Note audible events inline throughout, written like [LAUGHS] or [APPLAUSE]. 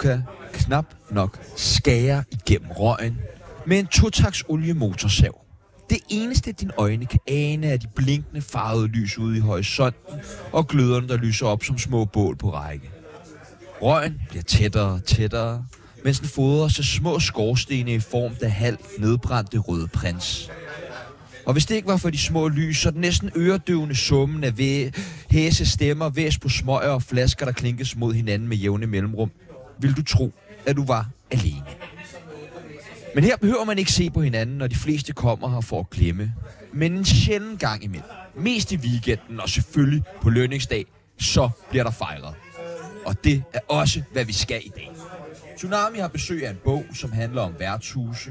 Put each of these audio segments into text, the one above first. kan knap nok skære igennem røgen med en totaks oliemotorsav. Det eneste, dine øjne kan ane, er de blinkende farvede lys ude i horisonten og gløderne, der lyser op som små bål på række. Røgen bliver tættere og tættere, mens den fodrer sig små skorstene i form af halvt nedbrændte røde prins. Og hvis det ikke var for de små lys, så den næsten øredøvende summen af væ- hæse stemmer, væs på smøger og flasker, der klinkes mod hinanden med jævne mellemrum, ville du tro, at du var alene. Men her behøver man ikke se på hinanden, når de fleste kommer her for at klemme. Men en sjælden gang imellem, mest i weekenden og selvfølgelig på lønningsdag, så bliver der fejret. Og det er også, hvad vi skal i dag. Tsunami har besøg af en bog, som handler om værtshuse.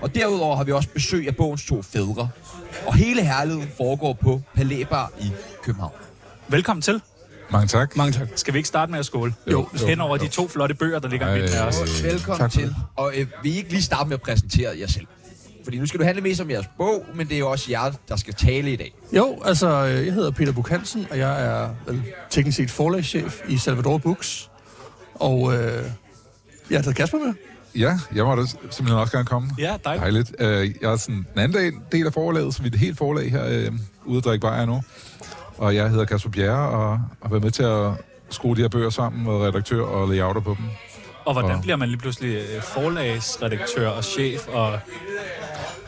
Og derudover har vi også besøg af bogens to fædre. Og hele herligheden foregår på Palæbar i København. Velkommen til. Mange tak. Mange tak. Skal vi ikke starte med at skåle? Jo, jo, Hen over de to flotte bøger, der ligger Ej, midt af os. Velkommen tak. til. Og øh, vil I ikke lige starte med at præsentere jer selv? Fordi nu skal du handle mest om jeres bog, men det er jo også jer, der skal tale i dag. Jo, altså, øh, jeg hedder Peter Buk Hansen, og jeg er vel, teknisk set forlagschef i Salvador Books. Og øh, jeg har taget Kasper med. Ja, jeg måtte også- simpelthen også gerne komme. Ja, dejligt. dejligt. Øh, Jeg er sådan den anden dag, del af forlaget, så vi er et helt forlag her øh, ude at drikke bajer nu. Og jeg hedder Kasper Bjerre, og har været med til at skrue de her bøger sammen, og redaktør og layouter på dem. Og hvordan Og- bliver man lige pludselig øh, forlagsredaktør og chef? Og...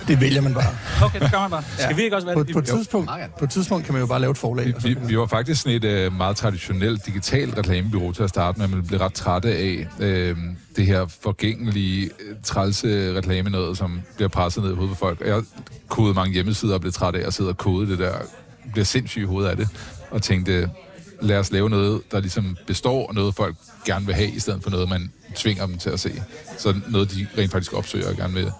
Det vælger man [LAUGHS] bare. Okay, det gør man bare. Skal vi ikke også være på, det? på, et tidspunkt, Jo. på et tidspunkt kan man jo bare lave et forlag. altså. Og så Vi, kan man, vi var faktisk sådan et øh, meget traditionelt digitalt reklamebyrå til at starte med, men blev ret trætte af øh, det her forgængelige, øh, trælse reklame noget, som bliver presset ned i hovedet på folk. Og jeg kodede mange hjemmesider og blev træt af at sidde og kode det der, bliver sindssyg i hovedet af det, og tænkte, lad os lave noget, der ligesom består, og noget folk gerne vil have, i stedet for noget, man tvinger dem til at se. Så noget, de rent faktisk opsøger og gerne vil,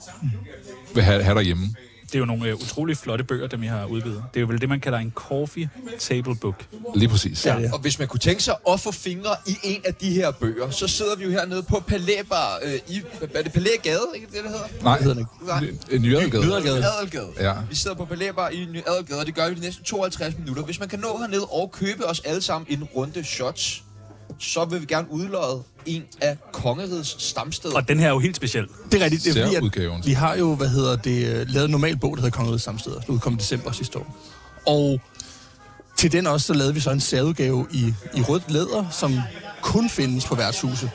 vil have, have derhjemme. Det er jo nogle øh, utrolig flotte bøger, dem I har udvidet. Det er jo vel det, man kalder en coffee table book. Lige præcis. Ja, ja. Og hvis man kunne tænke sig at få fingre i en af de her bøger, så sidder vi jo hernede på Palæbar øh, i... Er det Palægade, ikke det, det hedder? Nej, hedder den Ny- Nyadegade. Adelgade. Ja. Vi sidder på Palæbar i Ny Adelgade, og det gør vi de næste 52 minutter. Hvis man kan nå herned og købe os alle sammen en runde shots, så vil vi gerne udløje en af kongerigets stamsteder. Og den her er jo helt speciel. det er rigtigt. Det er fordi, Særudgaven. at vi har jo, hvad hedder det, øh, lavet en normal bog, der hedder Kongerigets Samsteder. Der udkom i december sidste år. Og til den også, så lavede vi så en særudgave i, i rødt læder, som kun findes på værtshuse.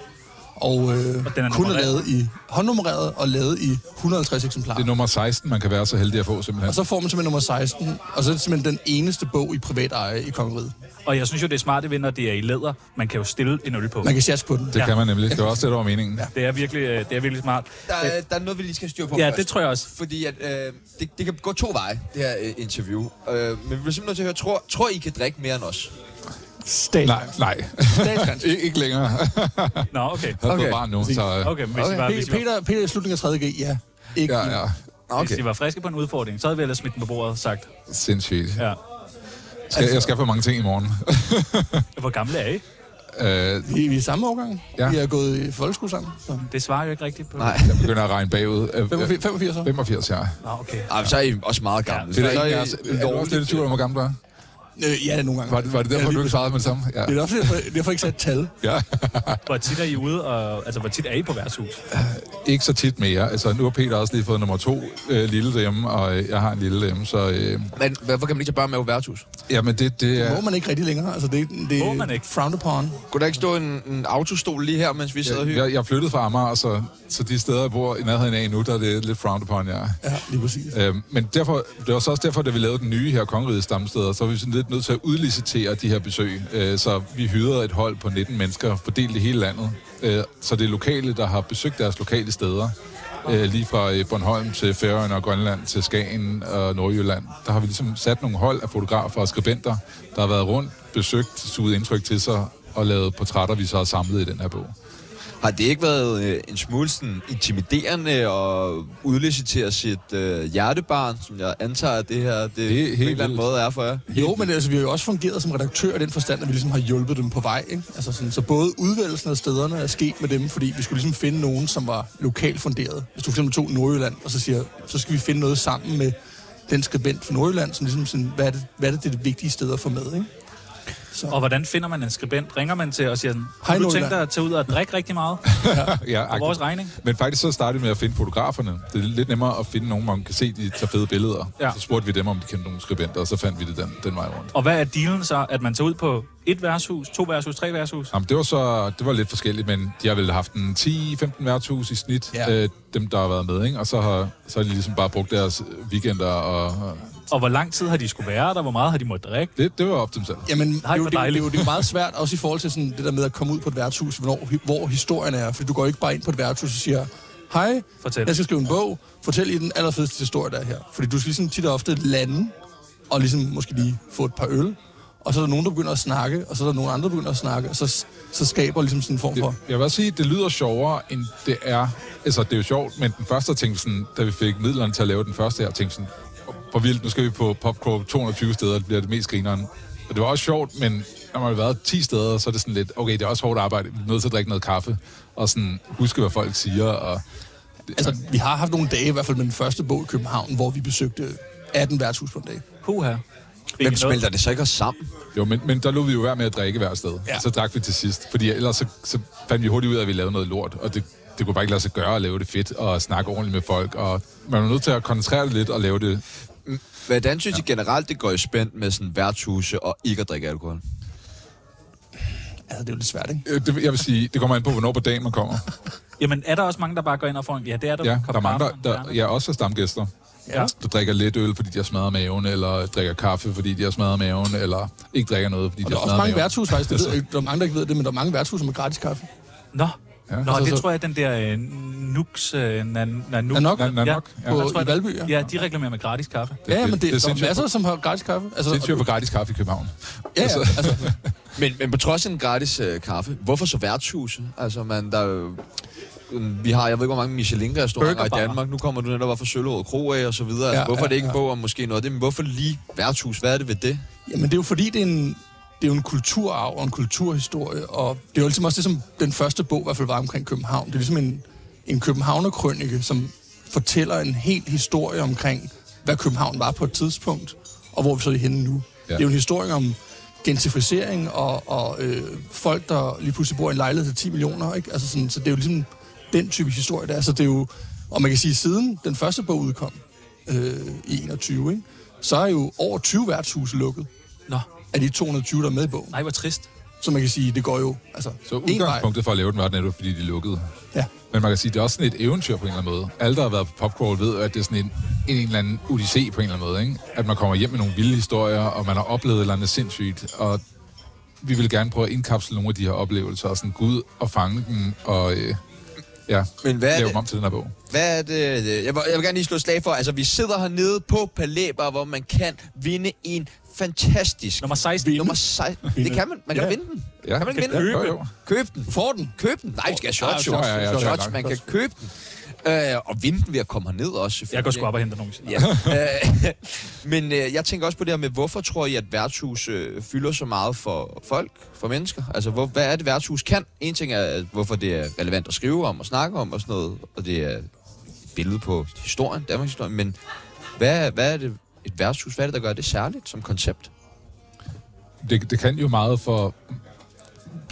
Og, øh, Og den er kun er nummereret. lavet i håndnummereret og lavet i 150 eksemplarer. Det er nummer 16, man kan være så heldig at få, simpelthen. Og så får man simpelthen nummer 16, og så er det simpelthen den eneste bog i privat eje i Kongeriget. Og jeg synes jo, det er smarte ved, når det er i læder. Man kan jo stille en øl på. Man kan sjaske på den. Det Ja. ja. kan man nemlig. Det var også det, der var meningen. Ja. Det er virkelig, øh, det er virkelig smart. Der, Øh, er- der er noget, vi lige skal styre på Ja, først. det tror jeg også. Fordi at, øh, det, det kan gå to veje, det her øh, interview. Øh, men vi bliver simpelthen nødt til at høre, tror, tror I kan drikke mere end os? Stat. Nej, nej. [LAUGHS] Ik- ikke længere. Nå, [LAUGHS] okay. Jeg okay. Okay. bare nu, så... øh, Okay, men hvis, I var, hvis, I var, Peter, Peter i slutningen af 3.G, ja. Ikke Ja, ja. Ah, hvis I var friske på en udfordring, så havde vi ellers smidt den på bordet og sagt. Sindssygt. Ja. Skal, jeg skal for mange ting i morgen. [LAUGHS] Hvor gamle er I? Øh, Vi, vi er samme årgang. Ja. Ja. Vi er gået i folkeskole sammen. Så. Det svarer jo ikke rigtigt på. Nej. jeg begynder at regne bagud. Øh, 85, 85 år. 85, ja. Nå, okay. Ej, men så er I også meget gamle. Det er, så der, er, altså, er du også lidt i tvivl om, hvor gammel du er? Øh, ja, nogle gange. Var det, var det derfor, ja, du lige ikke svarede med det samme? Ja. præcis. Det er også derfor, derfor ikke sat tal. ja. Hvor tit er I ude, og, altså hvor tit er I på værtshus? Ikke så tit mere. Altså, nu har Peter også lige fået nummer to øh, lille derhjemme, og øh, jeg har en lille derhjemme, så... Øh, Men hvorfor kan man ikke bare med værtshus? jamen, det, det Ja. Må er... man ikke rigtig længere. Altså, det, det Må man ikke? frowned upon. Kunne der ikke stå en, en autostol lige her, mens vi sidder og hygger? Jeg, jeg er flyttet fra Amager, så, så de steder, jeg bor i nærheden af nu, der er det lidt frowned upon, ja. Ja, lige præcis. Øh, men derfor, det var så også derfor, da vi lavede den nye her Kongerigets Stamsteder, så var vi sådan lidt nødt til at udlicitere de her besøg. Øh, så vi hyrede et hold på 19 mennesker, fordelt i hele landet. Øh, så det er lokale, der har besøgt deres lokale steder. Øh, lige fra øh, Bornholm til Færøerne og Grønland til Skagen og Nordjylland. Der har vi ligesom sat nogle hold af fotografer og skribenter, der har været rundt, besøgt, suget indtryk til sig og lavet portrætter, vi så har samlet i den her bog. Har det ikke været øh, en smule sådan, intimiderende at udlicitere sit øh, hjertebarn, som jeg antager, at det her det, det helt på en eller anden vildt. måde er for jer? Jo, men altså, vi har jo også fungeret som redaktør i den forstand, at vi ligesom har hjulpet dem på vej. Ikke? Altså sådan, så både udvalgelsen af stederne er sket med dem, fordi vi skulle ligesom finde nogen, som var lokalt funderet. Hvis du for eksempel tog Nordjylland, og så siger, så skal vi finde noget sammen med den skribent fra Nordjylland, som ligesom sådan, hvad er det, hvad er det, det, er det vigtige sted at få med, ikke? Så. Og hvordan finder man en skribent? Ringer man til og siger sådan, Hej, har du tænkt Nordjylland." dig at tage ud og drikke rigtig meget ja, på agtigt. vores regning? Men faktisk så startede vi med at finde fotograferne. Det er lidt nemmere at finde nogen, man kan se, de tager fede billeder. Ja. Ja. Så spurgte vi dem, om de kendte nogle skribenter, og så fandt vi det den, den vej rundt. Og hvad er dealen så, at man tager ud på et værtshus, to værtshus, tre værtshus? Jamen, det var så det var lidt forskelligt, men de har vel haft en 10-15 værtshus i snit, Ja. ja. øh, dem der har været med, ikke? og så har, så har de ligesom bare brugt deres weekender, og og Og hvor lang tid har de skulle være der? Hvor meget har de måttet drikke? det, det var op til dem selv. Jamen, det, hvor er jo, det, er jo- det, er dejligt. jo, det er jo meget svært, også i forhold til sådan det der med at komme ud på et værtshus, hvornår, hvor historien er. Fordi du går ikke bare ind på et værtshus og siger, hej, Fortæl. jeg skal skrive en bog, fortæl i den allerfedeste historie, der er her. Fordi du skal ligesom tit og ofte lande, og ligesom måske lige få et par øl, og så er der nogen, der begynder at snakke, og så er der nogen andre, der begynder at snakke, og så, så skaber ligesom sådan en form for... Det, jeg vil også sige, at det lyder sjovere, end det er. Altså, det er jo sjovt, men den første jeg tænkte sådan, da vi fik midlerne til at lave den første, jeg tænkte sådan, hvor vildt, nu skal vi på Popcrow 220 steder, det bliver det mest grineren. Og det var også sjovt, men når man har været 10 steder, så er det sådan lidt, okay, det er også hårdt arbejde, vi er nødt til at drikke noget kaffe, og sådan huske, hvad folk siger, og Altså, vi har haft nogle dage, i hvert fald med den første bog i København, hvor vi besøgte 18 værtshus på en dag. Puha. Hvem Ikke noget. smelter det så ikke også sammen? Jo, men, men der lå vi jo hver med at drikke hver sted. Ja. Ja. Så drak vi til sidst. Fordi ellers så, så fandt vi hurtigt ud af, at vi lavede noget lort. Og det, det kunne bare ikke lade sig gøre at lave det fedt og snakke ordentligt med folk. Og man var nødt til at koncentrere det lidt og lave det. Hvordan synes I generelt, det går i spænd med sådan værtshuse og ikke at drikke alkohol? Altså, det er jo lidt svært, ikke? Øh, det. Jeg vil sige, det kommer an på, hvornår på dagen man kommer. Jamen, er der også mange, der bare går ind og får en... Ja, det er [LAUGHS] der. Ja, en kop der er mange, der, kaffe og en der kerne. ja, også er stamgæster. Ja. Der drikker lidt øl, fordi de har smadret maven, eller drikker kaffe, fordi de har smadret maven, eller ikke drikker noget, fordi Og de der er har også smadret mange maven. værtshus, faktisk. Altså. Det ved, jeg ikke. der er mange, der ikke ved det, men der er mange værtshus med gratis kaffe. Nå. Ja. Nå, Altså, det så- tror jeg, den der øh, Nux... Øh, nan, nanuk, Nanok? Nanok, ja. ja. Der På- tror i jeg, Valby, ja. Ja, de reklamerer med gratis kaffe. Ja, men det, det, det er der er sindssygt. masser, som har gratis kaffe. Altså, Det tyder på gratis kaffe i København. ja, ja, altså, [LAUGHS] Men, men på trods af en gratis øh, kaffe, hvorfor så værtshuse? Altså, man, der, er jo- øh, vi har, jeg ved ikke, hvor mange Michelin-restauranter i Burgerbarer. Danmark. Nu kommer du netop op fra Søllerød Kro af og så videre. Altså, Ja, ja, hvorfor ja, er det ikke ja. en bog om måske noget af det? Men hvorfor lige værtshus? Hvad er det ved det? Jamen, det er jo fordi, det er en, det er jo en kulturarv og en kulturhistorie, og det er jo ligesom også det, som den første bog i hvert fald var omkring København. Det er ligesom en, en københavnerkrønike, som fortæller en hel historie omkring, hvad København var på et tidspunkt, og hvor vi så er henne nu. Ja. Ja. Det er jo en historie om gentrificering og, og øh, folk, der lige pludselig bor i en lejlighed til 10 millioner. Ikke? Altså sådan, så det er jo ligesom den type historie, der er. Så det er jo, og man kan sige, siden den første bog udkom øh, i 21, ikke? så er jo over 20 værtshuse lukket Nå, af de 220, der er med i bogen. nej, hvor trist. Så man kan sige, det går jo altså, Så én vej. udgangspunktet for at lave den var netop, fordi de lukkede. Ja. Men man kan sige, at det er også sådan et eventyr på en eller anden måde. Alle, der har været på Popcrawl, ved, at det er sådan en, en, en eller anden odyssé på en eller anden måde. Ikke? At man kommer hjem med nogle vilde historier, og man har oplevet et eller andet sindssygt. Og vi vil gerne prøve at indkapsle nogle af de her oplevelser, og sådan gå ud og fange dem, og øh, ja, Men hvad er lave det? dem om til den her bog. Hvad er det? øh, Jeg vil, jeg vil gerne lige slå et slag for. Altså, vi sidder hernede på Palæber, hvor man kan vinde en fantastisk... Nummer 16. Nummer 16. Det kan man. Man kan Ja. ja. vinde den. Ja, Kan man ikke ja, vinde jo, jo. Køb den. Du får den. Køb den. Nej, vi skal have Ah, shots, jo. shots, ja, ja, shots, ja, shots. ja, Man ja. kan købe den. Øh, og vinde den ved at komme herned også, selvfølgelig. Jeg går sgu op og henter nogen. Ja. Øh, Men øh, jeg tænker også på det her med, hvorfor tror I, at værtshus øh, fylder så meget for folk, for mennesker? Altså, hvor, hvad er det, værtshus kan? En ting er, at hvorfor det er relevant at skrive om og snakke om og sådan noget, og det er et billede på historien, Danmarks historie, men hvad, hvad er det, et værtshus, hvad er det, der gør det særligt som koncept? det, det kan jo meget for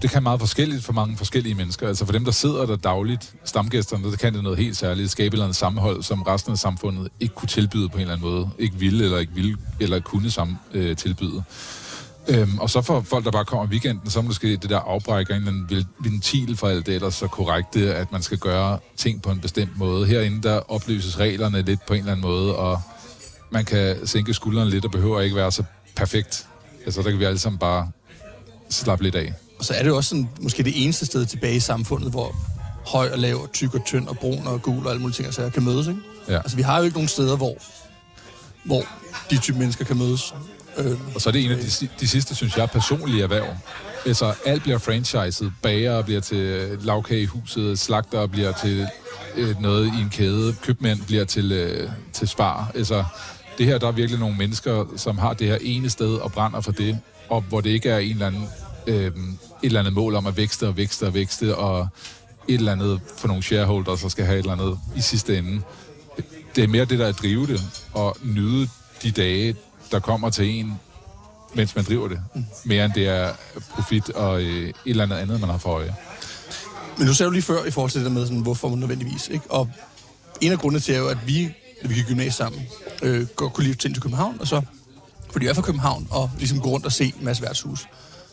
det kan meget forskelligt for mange forskellige mennesker. Altså for dem, der sidder der dagligt, stamgæsterne, der kan det noget helt særligt. Skabe et eller andet sammenhold, som resten af samfundet ikke kunne tilbyde på en eller anden måde. Ikke ville eller ikke ville eller kunne sammen, øh, tilbyde. Øhm, og så for folk, der bare kommer i weekenden, så er måske det der afbrækker en eller anden vil- ventil for alt det ellers så korrekte, at man skal gøre ting på en bestemt måde. Herinde, der opløses reglerne lidt på en eller anden måde, og man kan sænke skuldrene lidt og behøver ikke være så perfekt. Altså, der kan vi alle sammen bare slappe lidt af. Og så er det jo også sådan, måske det eneste sted tilbage i samfundet, hvor høj og lav, og tyk og tynd og brun og gul og alle mulige ting, så kan mødes. Ikke? Ja. Altså, vi har jo ikke nogen steder, hvor, hvor de type mennesker kan mødes. Øh, Og så er det en af de, si- de sidste, synes jeg, personlige erhverv. Altså, alt bliver franchiset. Bager bliver til lavkage i huset, slagter bliver til øh, noget i en kæde, købmænd bliver til, øh, til spar. Altså, det her, der er virkelig nogle mennesker, som har det her ene sted og brænder for det, og hvor det ikke er en eller anden, øh, et eller andet mål om at vækste og vækste og vækste, og et eller andet for nogle shareholders, der skal have et eller andet i sidste ende. Det er mere det, der er at drive det, og nyde de dage, der kommer til en mens man driver det. Mere end det er profit og øh, et eller andet andet, man har for øje. Men nu sagde du lige før i forhold til det der med, sådan, hvorfor man nødvendigvis. Ikke? Og en af grundene til er jo, at vi, da vi gik i gymnasiet sammen, øh, godt kunne lide at tage til København, og så, fordi jeg er fra København, og ligesom gå rundt og se en masse værtshus.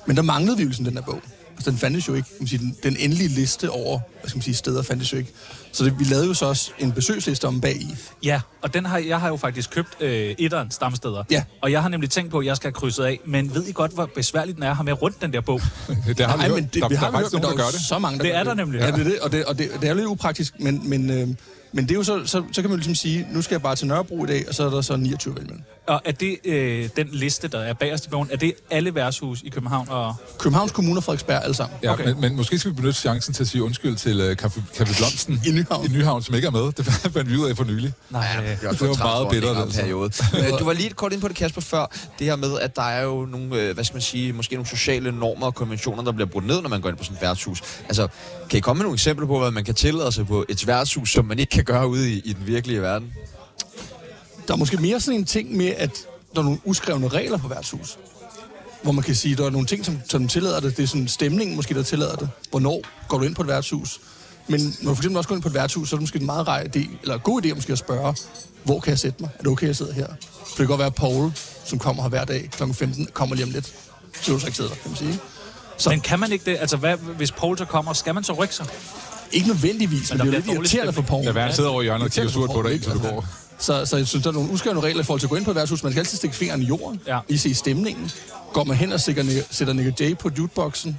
Men der manglede vi jo ligesom den der bog. Altså, den fandtes jo ikke. Kan man sige, den, den endelige liste over hvad skal man sige, steder fandtes jo ikke. Så det, vi lavede jo så også en besøgsliste om bag i. Ja, og den har, jeg har jo faktisk købt øh, etteren stamsteder. Ja. Og jeg har nemlig tænkt på, at jeg skal have krydset af. Men ved I godt, hvor besværligt den er at have med rundt den der bog? Der har Nej, vi men hørt. det, der, vi der har er vi hørt, faktisk nogen, men der der gør er jo det. så mange, der Det gør er der nemlig. Ja, det er det, og det, og det, det er lidt upraktisk, men, men, øh, men det er jo så, så, så kan man ligesom sige, nu skal jeg bare til Nørrebro i dag, og så er der så 29 valgmænd. Og er det øh, den liste, der er bagerst i bogen, er det alle værtshus i København? Og... Københavns Kommune og Frederiksberg alle sammen. Ja, Okay. okay. men, men måske skal vi benytte chancen til at sige undskyld til uh, Café, Café Blomsten I Nyhavn. i Nyhavn, som ikke er med. [LAUGHS] Det fandt vi ud af for nylig. Nej, øh, Jeg Det var meget bittert, altså. periode. [LAUGHS] Øh, du var lige kort inde på det, Kasper, før. Det her med, at der er jo nogle, øh, hvad skal man sige, måske nogle sociale normer og konventioner, der bliver brudt ned, når man går ind på sådan et værtshus. Altså, kan I komme med nogle eksempler på, hvad man kan tillade sig på et værtshus, som man ikke kan gøre ude i, i den virkelige verden? Der er måske mere sådan en ting med, at der er nogle uskrevne regler på værtshus. Hvor man kan sige, at der er nogle ting, som, som tillader det. Det er sådan stemningen måske, der tillader det. Hvornår går du ind på et værtshus? Men når du for eksempel også går ind på et værtshus, så er det måske en meget rar idé, eller god idé måske at spørge, hvor kan jeg sætte mig? Er det okay, jeg sidder her? For det kan godt være, at Paul, som kommer her hver dag kl. 15, kommer lige om lidt. Så vil du så ikke sidde der, kan man sige. Så men kan man ikke det? Altså, hvad, hvis Paul så kommer, skal man så rykke sig? ikke nødvendigvis, men, der men det er bliver jo lidt dårlig irriterende for Paul. Lad være, han sidder over i hjørnet og kigger surt på dig, indtil du går. Så, så jeg synes, der er nogle uskrevne regler i forhold til at gå ind på et værtshus. Man skal altid stikke fingeren i jorden, Ja. ja. lige se stemningen. Går man hen og sætter, Nick- sætter Nick Jay på jukeboxen,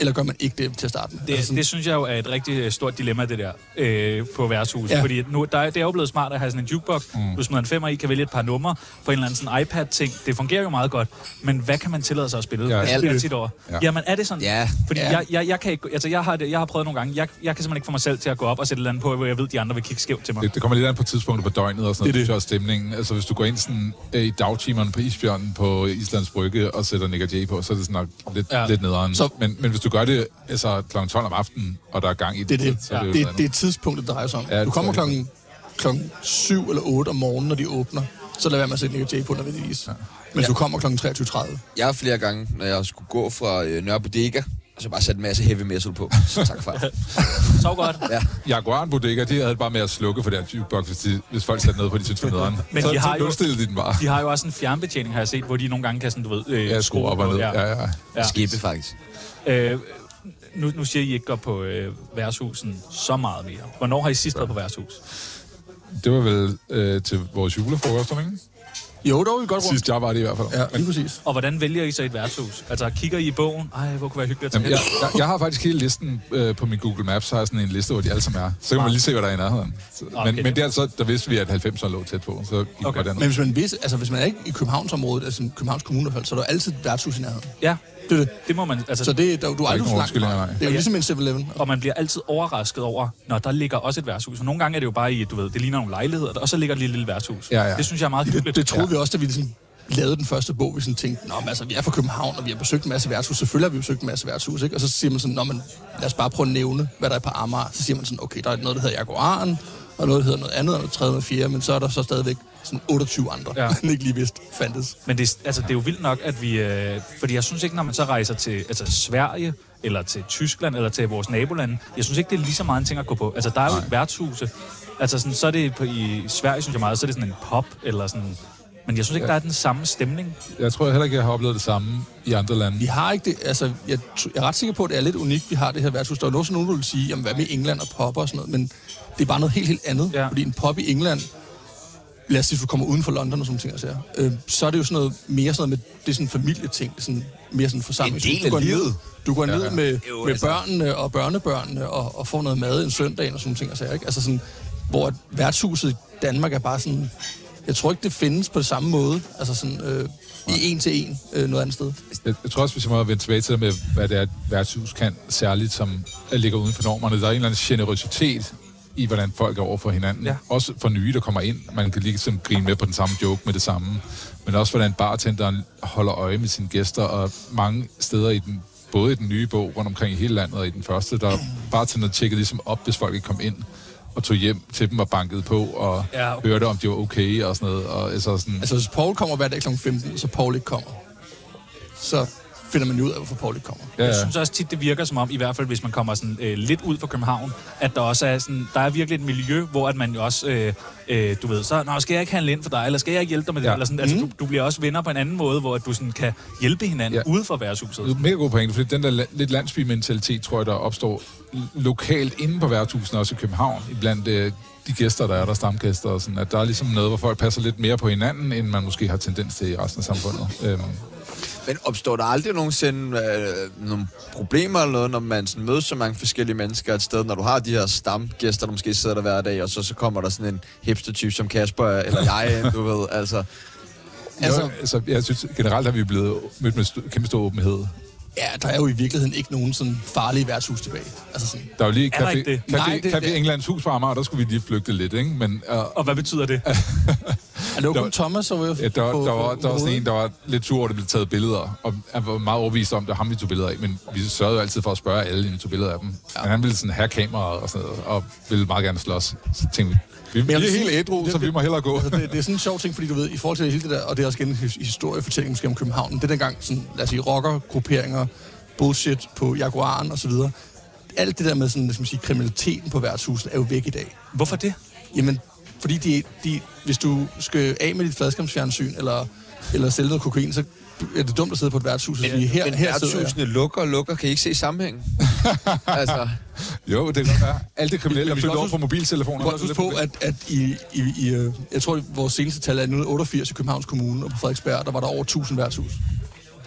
eller gør man ikke det til at starte med? Det, altså, det synes jeg jo er et rigtig øh, stort dilemma, det der, øh, på værtshuset. Ja. Ja. Fordi at nu, der, er- det er jo blevet smart at have sådan en jukebox. Mm. Du smider en femmer i, kan vælge et par numre på en eller anden sådan iPad-ting. Det fungerer jo meget godt. Men hvad kan man tillade sig at spille? Ja. Ja, det bliver Alt. tit over. Ja. Ja. Jamen, er det sådan? Ja. Fordi Ja. Jeg, jeg, jeg, kan ikke, altså, jeg, har, det- jeg har prøvet nogle gange. Jeg, jeg kan simpelthen ikke få mig selv til at gå op og sætte et eller andet på, hvor jeg ved, de andre vil kigge skævt til mig. Det, det kommer lidt an på tidspunktet på døgnet og sådan noget, det er stemningen. Altså, hvis du går ind sådan, øh, i dagtimerne på Isbjørnen på Islands Brygge og sætter Nick og Jay på, så er det sådan nok lidt, Ja. ja. lidt nederen. Så- Så, men, men hvis du gør det altså, kl. 12 om aftenen, og der er gang i det, det, er det. så Ja. er det, det, jo det, det er tidspunktet, det drejer sig om. Ja, Ja, det du kommer tror jeg. klokken, klokken 7 eller 8 om morgenen, når de åbner. Så lad være med at sætte Nick Jay på nødvendigvis. Ja. Men ja. du kommer klokken 23.30. Jeg har flere gange, når jeg skulle gå fra øh, Nørre Bodega, og så bare sat en masse heavy metal på. Så tak [LAUGHS] for det. Sov godt. Ja. Jaguaren Bodega, de havde bare med at slukke for deres jukebox, hvis, de, hvis folk satte noget på, de synes var nederen. [LAUGHS] Men så, de har så jo- nulstillede de den bare. De har jo også en fjernbetjening, har jeg set, hvor de nogle gange kan sådan, du ved... Øh, Ja, skruer op på. og ned. Ja, ja. Ja. Skibbe, faktisk. Øh, nu, nu siger I ikke går på øh, værtshusen så meget mere. Hvornår har I sidst været på værtshus? Det var vel øh, til vores julefrokost, om ikke? Jo, der var vi godt rundt. Sidst jeg var det i hvert fald. Ja, lige præcis. Og hvordan vælger I så et værtshus? Altså, kigger I i bogen? Ej, hvor kunne være hyggeligt at Jamen, tage jeg, hen? jeg, jeg har faktisk hele listen øh, på min Google Maps, så har jeg sådan en liste, hvor de alle sammen er. Så kan man lige se, hvad der er i nærheden. Så, Okay. okay. men, men der, så, der vidste vi, at 90'erne lå tæt på, så gik Okay. okay. Men den. hvis man, vidste, altså, hvis man er ikke i Københavnsområdet, altså Københavns Kommune, i hvert fald, så er der jo altid et værtshus i nærheden. Ja, Det er det. det må man... Altså, Så det, der, du er ikke aldrig nogen for langt. undskyldninger, nej. Det er jo Ja. ligesom en 7-Eleven. og man bliver altid overrasket over, når der ligger også et værtshus. Og nogle gange er det jo bare i, du ved, det ligner nogle lejligheder, og så ligger et lille, lille værtshus. Ja, ja. Det synes jeg er meget hyggeligt. Det, det troede ja. vi også, da vi ligesom lavede den første bog, vi sådan tænkte, Nå, men altså, vi er fra København, og vi har besøgt en masse værtshus. Selvfølgelig har vi besøgt en masse værtshus, ikke? Og så siger man sådan, Nå, men lad os bare prøve at nævne, hvad der er på Amager. Så siger man sådan, okay, der er noget, der hedder Jaguaren, og noget, der hedder noget andet, og noget tredje og noget fjerde, men så er der så stadigvæk sådan 28 andre, Ja. ja. [LAUGHS] man ikke lige vidste fandtes. Men det, er- altså, det er jo vildt nok, at vi... Øh, fordi jeg synes ikke, når man så rejser til altså, Sverige, eller til Tyskland, eller til vores nabolande, jeg synes ikke, det er lige så meget en ting at gå på. Altså, der er jo et værtshuse. Altså, sådan, så er det på, i Sverige, synes jeg meget, så er det sådan en pop, eller sådan... Men jeg synes ikke, der er den samme stemning. Jeg tror heller ikke, jeg har oplevet det samme i andre lande. Vi har ikke det, altså, jeg, t- jeg er ret sikker på, at det er lidt unikt, vi har det her værtshus. Der er jo også nogen, der vil sige, jamen, hvad med England og popper og sådan noget, men det er bare noget helt, helt andet. Ja. Ja. Fordi en pop i England, lad os sige, hvis du kommer uden for London og sådan nogle ting, altså, øh, så er det jo sådan noget mere sådan noget med, det er sådan en familieting, det er sådan, mere sådan en forsamling. En del du går af livet. Ned, du går ned ja. med, Jo, med altså. børnene og børnebørnene og, og får noget mad en søndag og sådan nogle ting, altså, ikke? Altså sådan, hvor værtshuset i Danmark er bare sådan, jeg tror ikke, det findes på samme måde, altså sådan, øh, i en til en øh, noget andet sted. Jeg, jeg tror også, hvis jeg må vende tilbage til det med, hvad det er, et værtshus kan, særligt som øh, ligger uden for normerne. Der er en eller anden generøsitet i, hvordan folk er over for hinanden. Ja. Ja. Også for nye, der kommer ind. Man kan lige sådan grine med på den samme joke med det samme. Men også, hvordan bartenderen holder øje med sine gæster, og mange steder i den både i den nye bog rundt omkring i hele landet og i den første, der bartenderen tjekkede ligesom op, hvis folk ikke kom ind og tog hjem til dem og bankede på og Ja, ja, okay. okay. hørte, om de var okay og sådan noget. Og, altså sådan, Altså, hvis Paul kommer hver dag kl. 15, så Paul ikke kommer, så finder man jo ud af, hvorfor Paul ikke kommer. Ja, Jeg ja. synes også tit, det virker som om, i hvert fald hvis man kommer sådan, øh, lidt ud fra København, at der også er sådan, der er virkelig et miljø, hvor at man jo også, øh, øh, du ved, så Nå, skal jeg ikke handle ind for dig, eller skal jeg ikke hjælpe dig med det? Ja. Mhm. Ja. Eller sådan, altså, du, du, bliver også venner på en anden måde, hvor at du sådan, kan hjælpe hinanden Ja. ja. ude for værtshuset. Det er et mega god pointe, fordi den der la- lidt landsbymentalitet, tror jeg, der opstår l- lokalt inde på værtshusene, også i København, blandt øh, de gæster, der er der, stamgæster og sådan, at der er ligesom noget, hvor folk passer lidt mere på hinanden, end man måske har tendens til i resten af samfundet. Øhm, Men opstår der aldrig nogensinde øh, nogle problemer eller noget, når man sådan mødes så mange forskellige mennesker et sted, når du har de her stamgæster, der måske sidder der hver dag, og så, så kommer der sådan en hipster-type som Kasper eller jeg, ind, du ved, altså... altså, jo, altså, jeg synes generelt, at vi er blevet mødt med st- kæmpe stor åbenhed. Ja, der er jo i virkeligheden ikke nogen sådan farlige værtshus tilbage. Altså sådan, Der er jo lige Er der Café, ikke det? Café, Nej, det- Café det- Englands hus på Amager, der skulle vi lige flygte lidt, ikke? Men, øh, Og hvad betyder det? er det jo Der- kun Thomas, der var Ja, der, der, var, der var sådan en, der var lidt sur over, at der blev taget billeder, og han var meget overbevist om, at det var ham, vi tog billeder af, men vi sørgede jo altid for at spørge alle, inden vi tog billeder af dem. Ja. Men han ville sådan have kameraet og sådan noget, og ville meget gerne slås. Så tænkte vi, vi, vi jeg er vil helt sige, ædru, det- så vi må hellere gå. Altså, det, det er sådan en sjov ting, fordi du ved, i forhold til hele det der, og det er også igen en his- historiefortælling måske om København, det er dengang, sådan, lad os sige, rockergrupperinger, bullshit på Jaguaren osv., alt det der med sådan, hvad skal man sige, kriminaliteten på værtshusene er jo væk i dag. Hvorfor det? Jamen, fordi de, de, hvis du skal af med dit fladskabsfjernsyn, eller, eller sælge noget kokain, så er det dumt at sidde på et værtshus og sige, her, men her sidder jeg. værtshusene lukker og lukker. Kan I ikke se [LAUGHS] sammenhængen? altså, [LAUGHS] Jo, det kan godt være. Alt det kriminelle er vi skal flyttet også over på huske- mobiltelefoner. Du må også huske på, at, at i, i, i, øh, jeg tror, at vores seneste tal er nu 88 i Københavns Kommune, og på Frederiksberg, der var der over 1000 [LAUGHS] værtshus.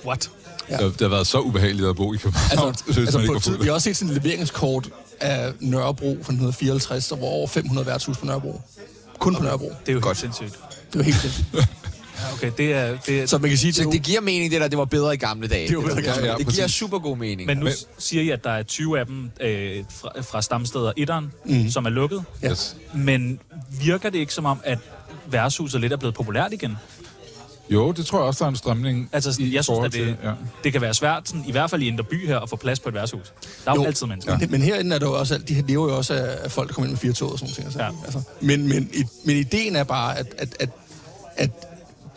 What? ja. Det har været så ubehageligt at bo i København. [LAUGHS] Altså, synes man altså ikke på var et tid, fuld. vi har også set sådan et leveringskort af Nørrebro fra 1954, der var over 500 værtshus på Nørrebro. Kun på Nørrebro. Det er jo Godt. helt sindssygt. Det var helt [LAUGHS] sindssygt. Ja, Okay, det er... Det er Så man kan sige, så at det giver mening, det der, det var bedre i gamle dage. Det var bedre i gamle dage, det giver præcis. super god mening. men nu Men- siger I, at der er 20 af dem øh, fra, fra stamsteder Etteren, mm. som er lukket. Ja. Yes. Men virker det ikke som om, at værtshuset lidt er blevet populært igen? Jo, det tror jeg også, der er en strømning Altså, sådan, i jeg synes, forhold at det, til- ja. det kan være svært, sådan, i hvert fald i Indre By her, at få plads på et værtshus. Der er jo, Jo. altid mennesker. Ja. Men, men herinde er der jo også alt, de her lever jo også af, af folk, der kommer ind med fire tog og sådan noget. Ja. Ja. Altså, men, men, i- men ideen er bare, at, at, at, at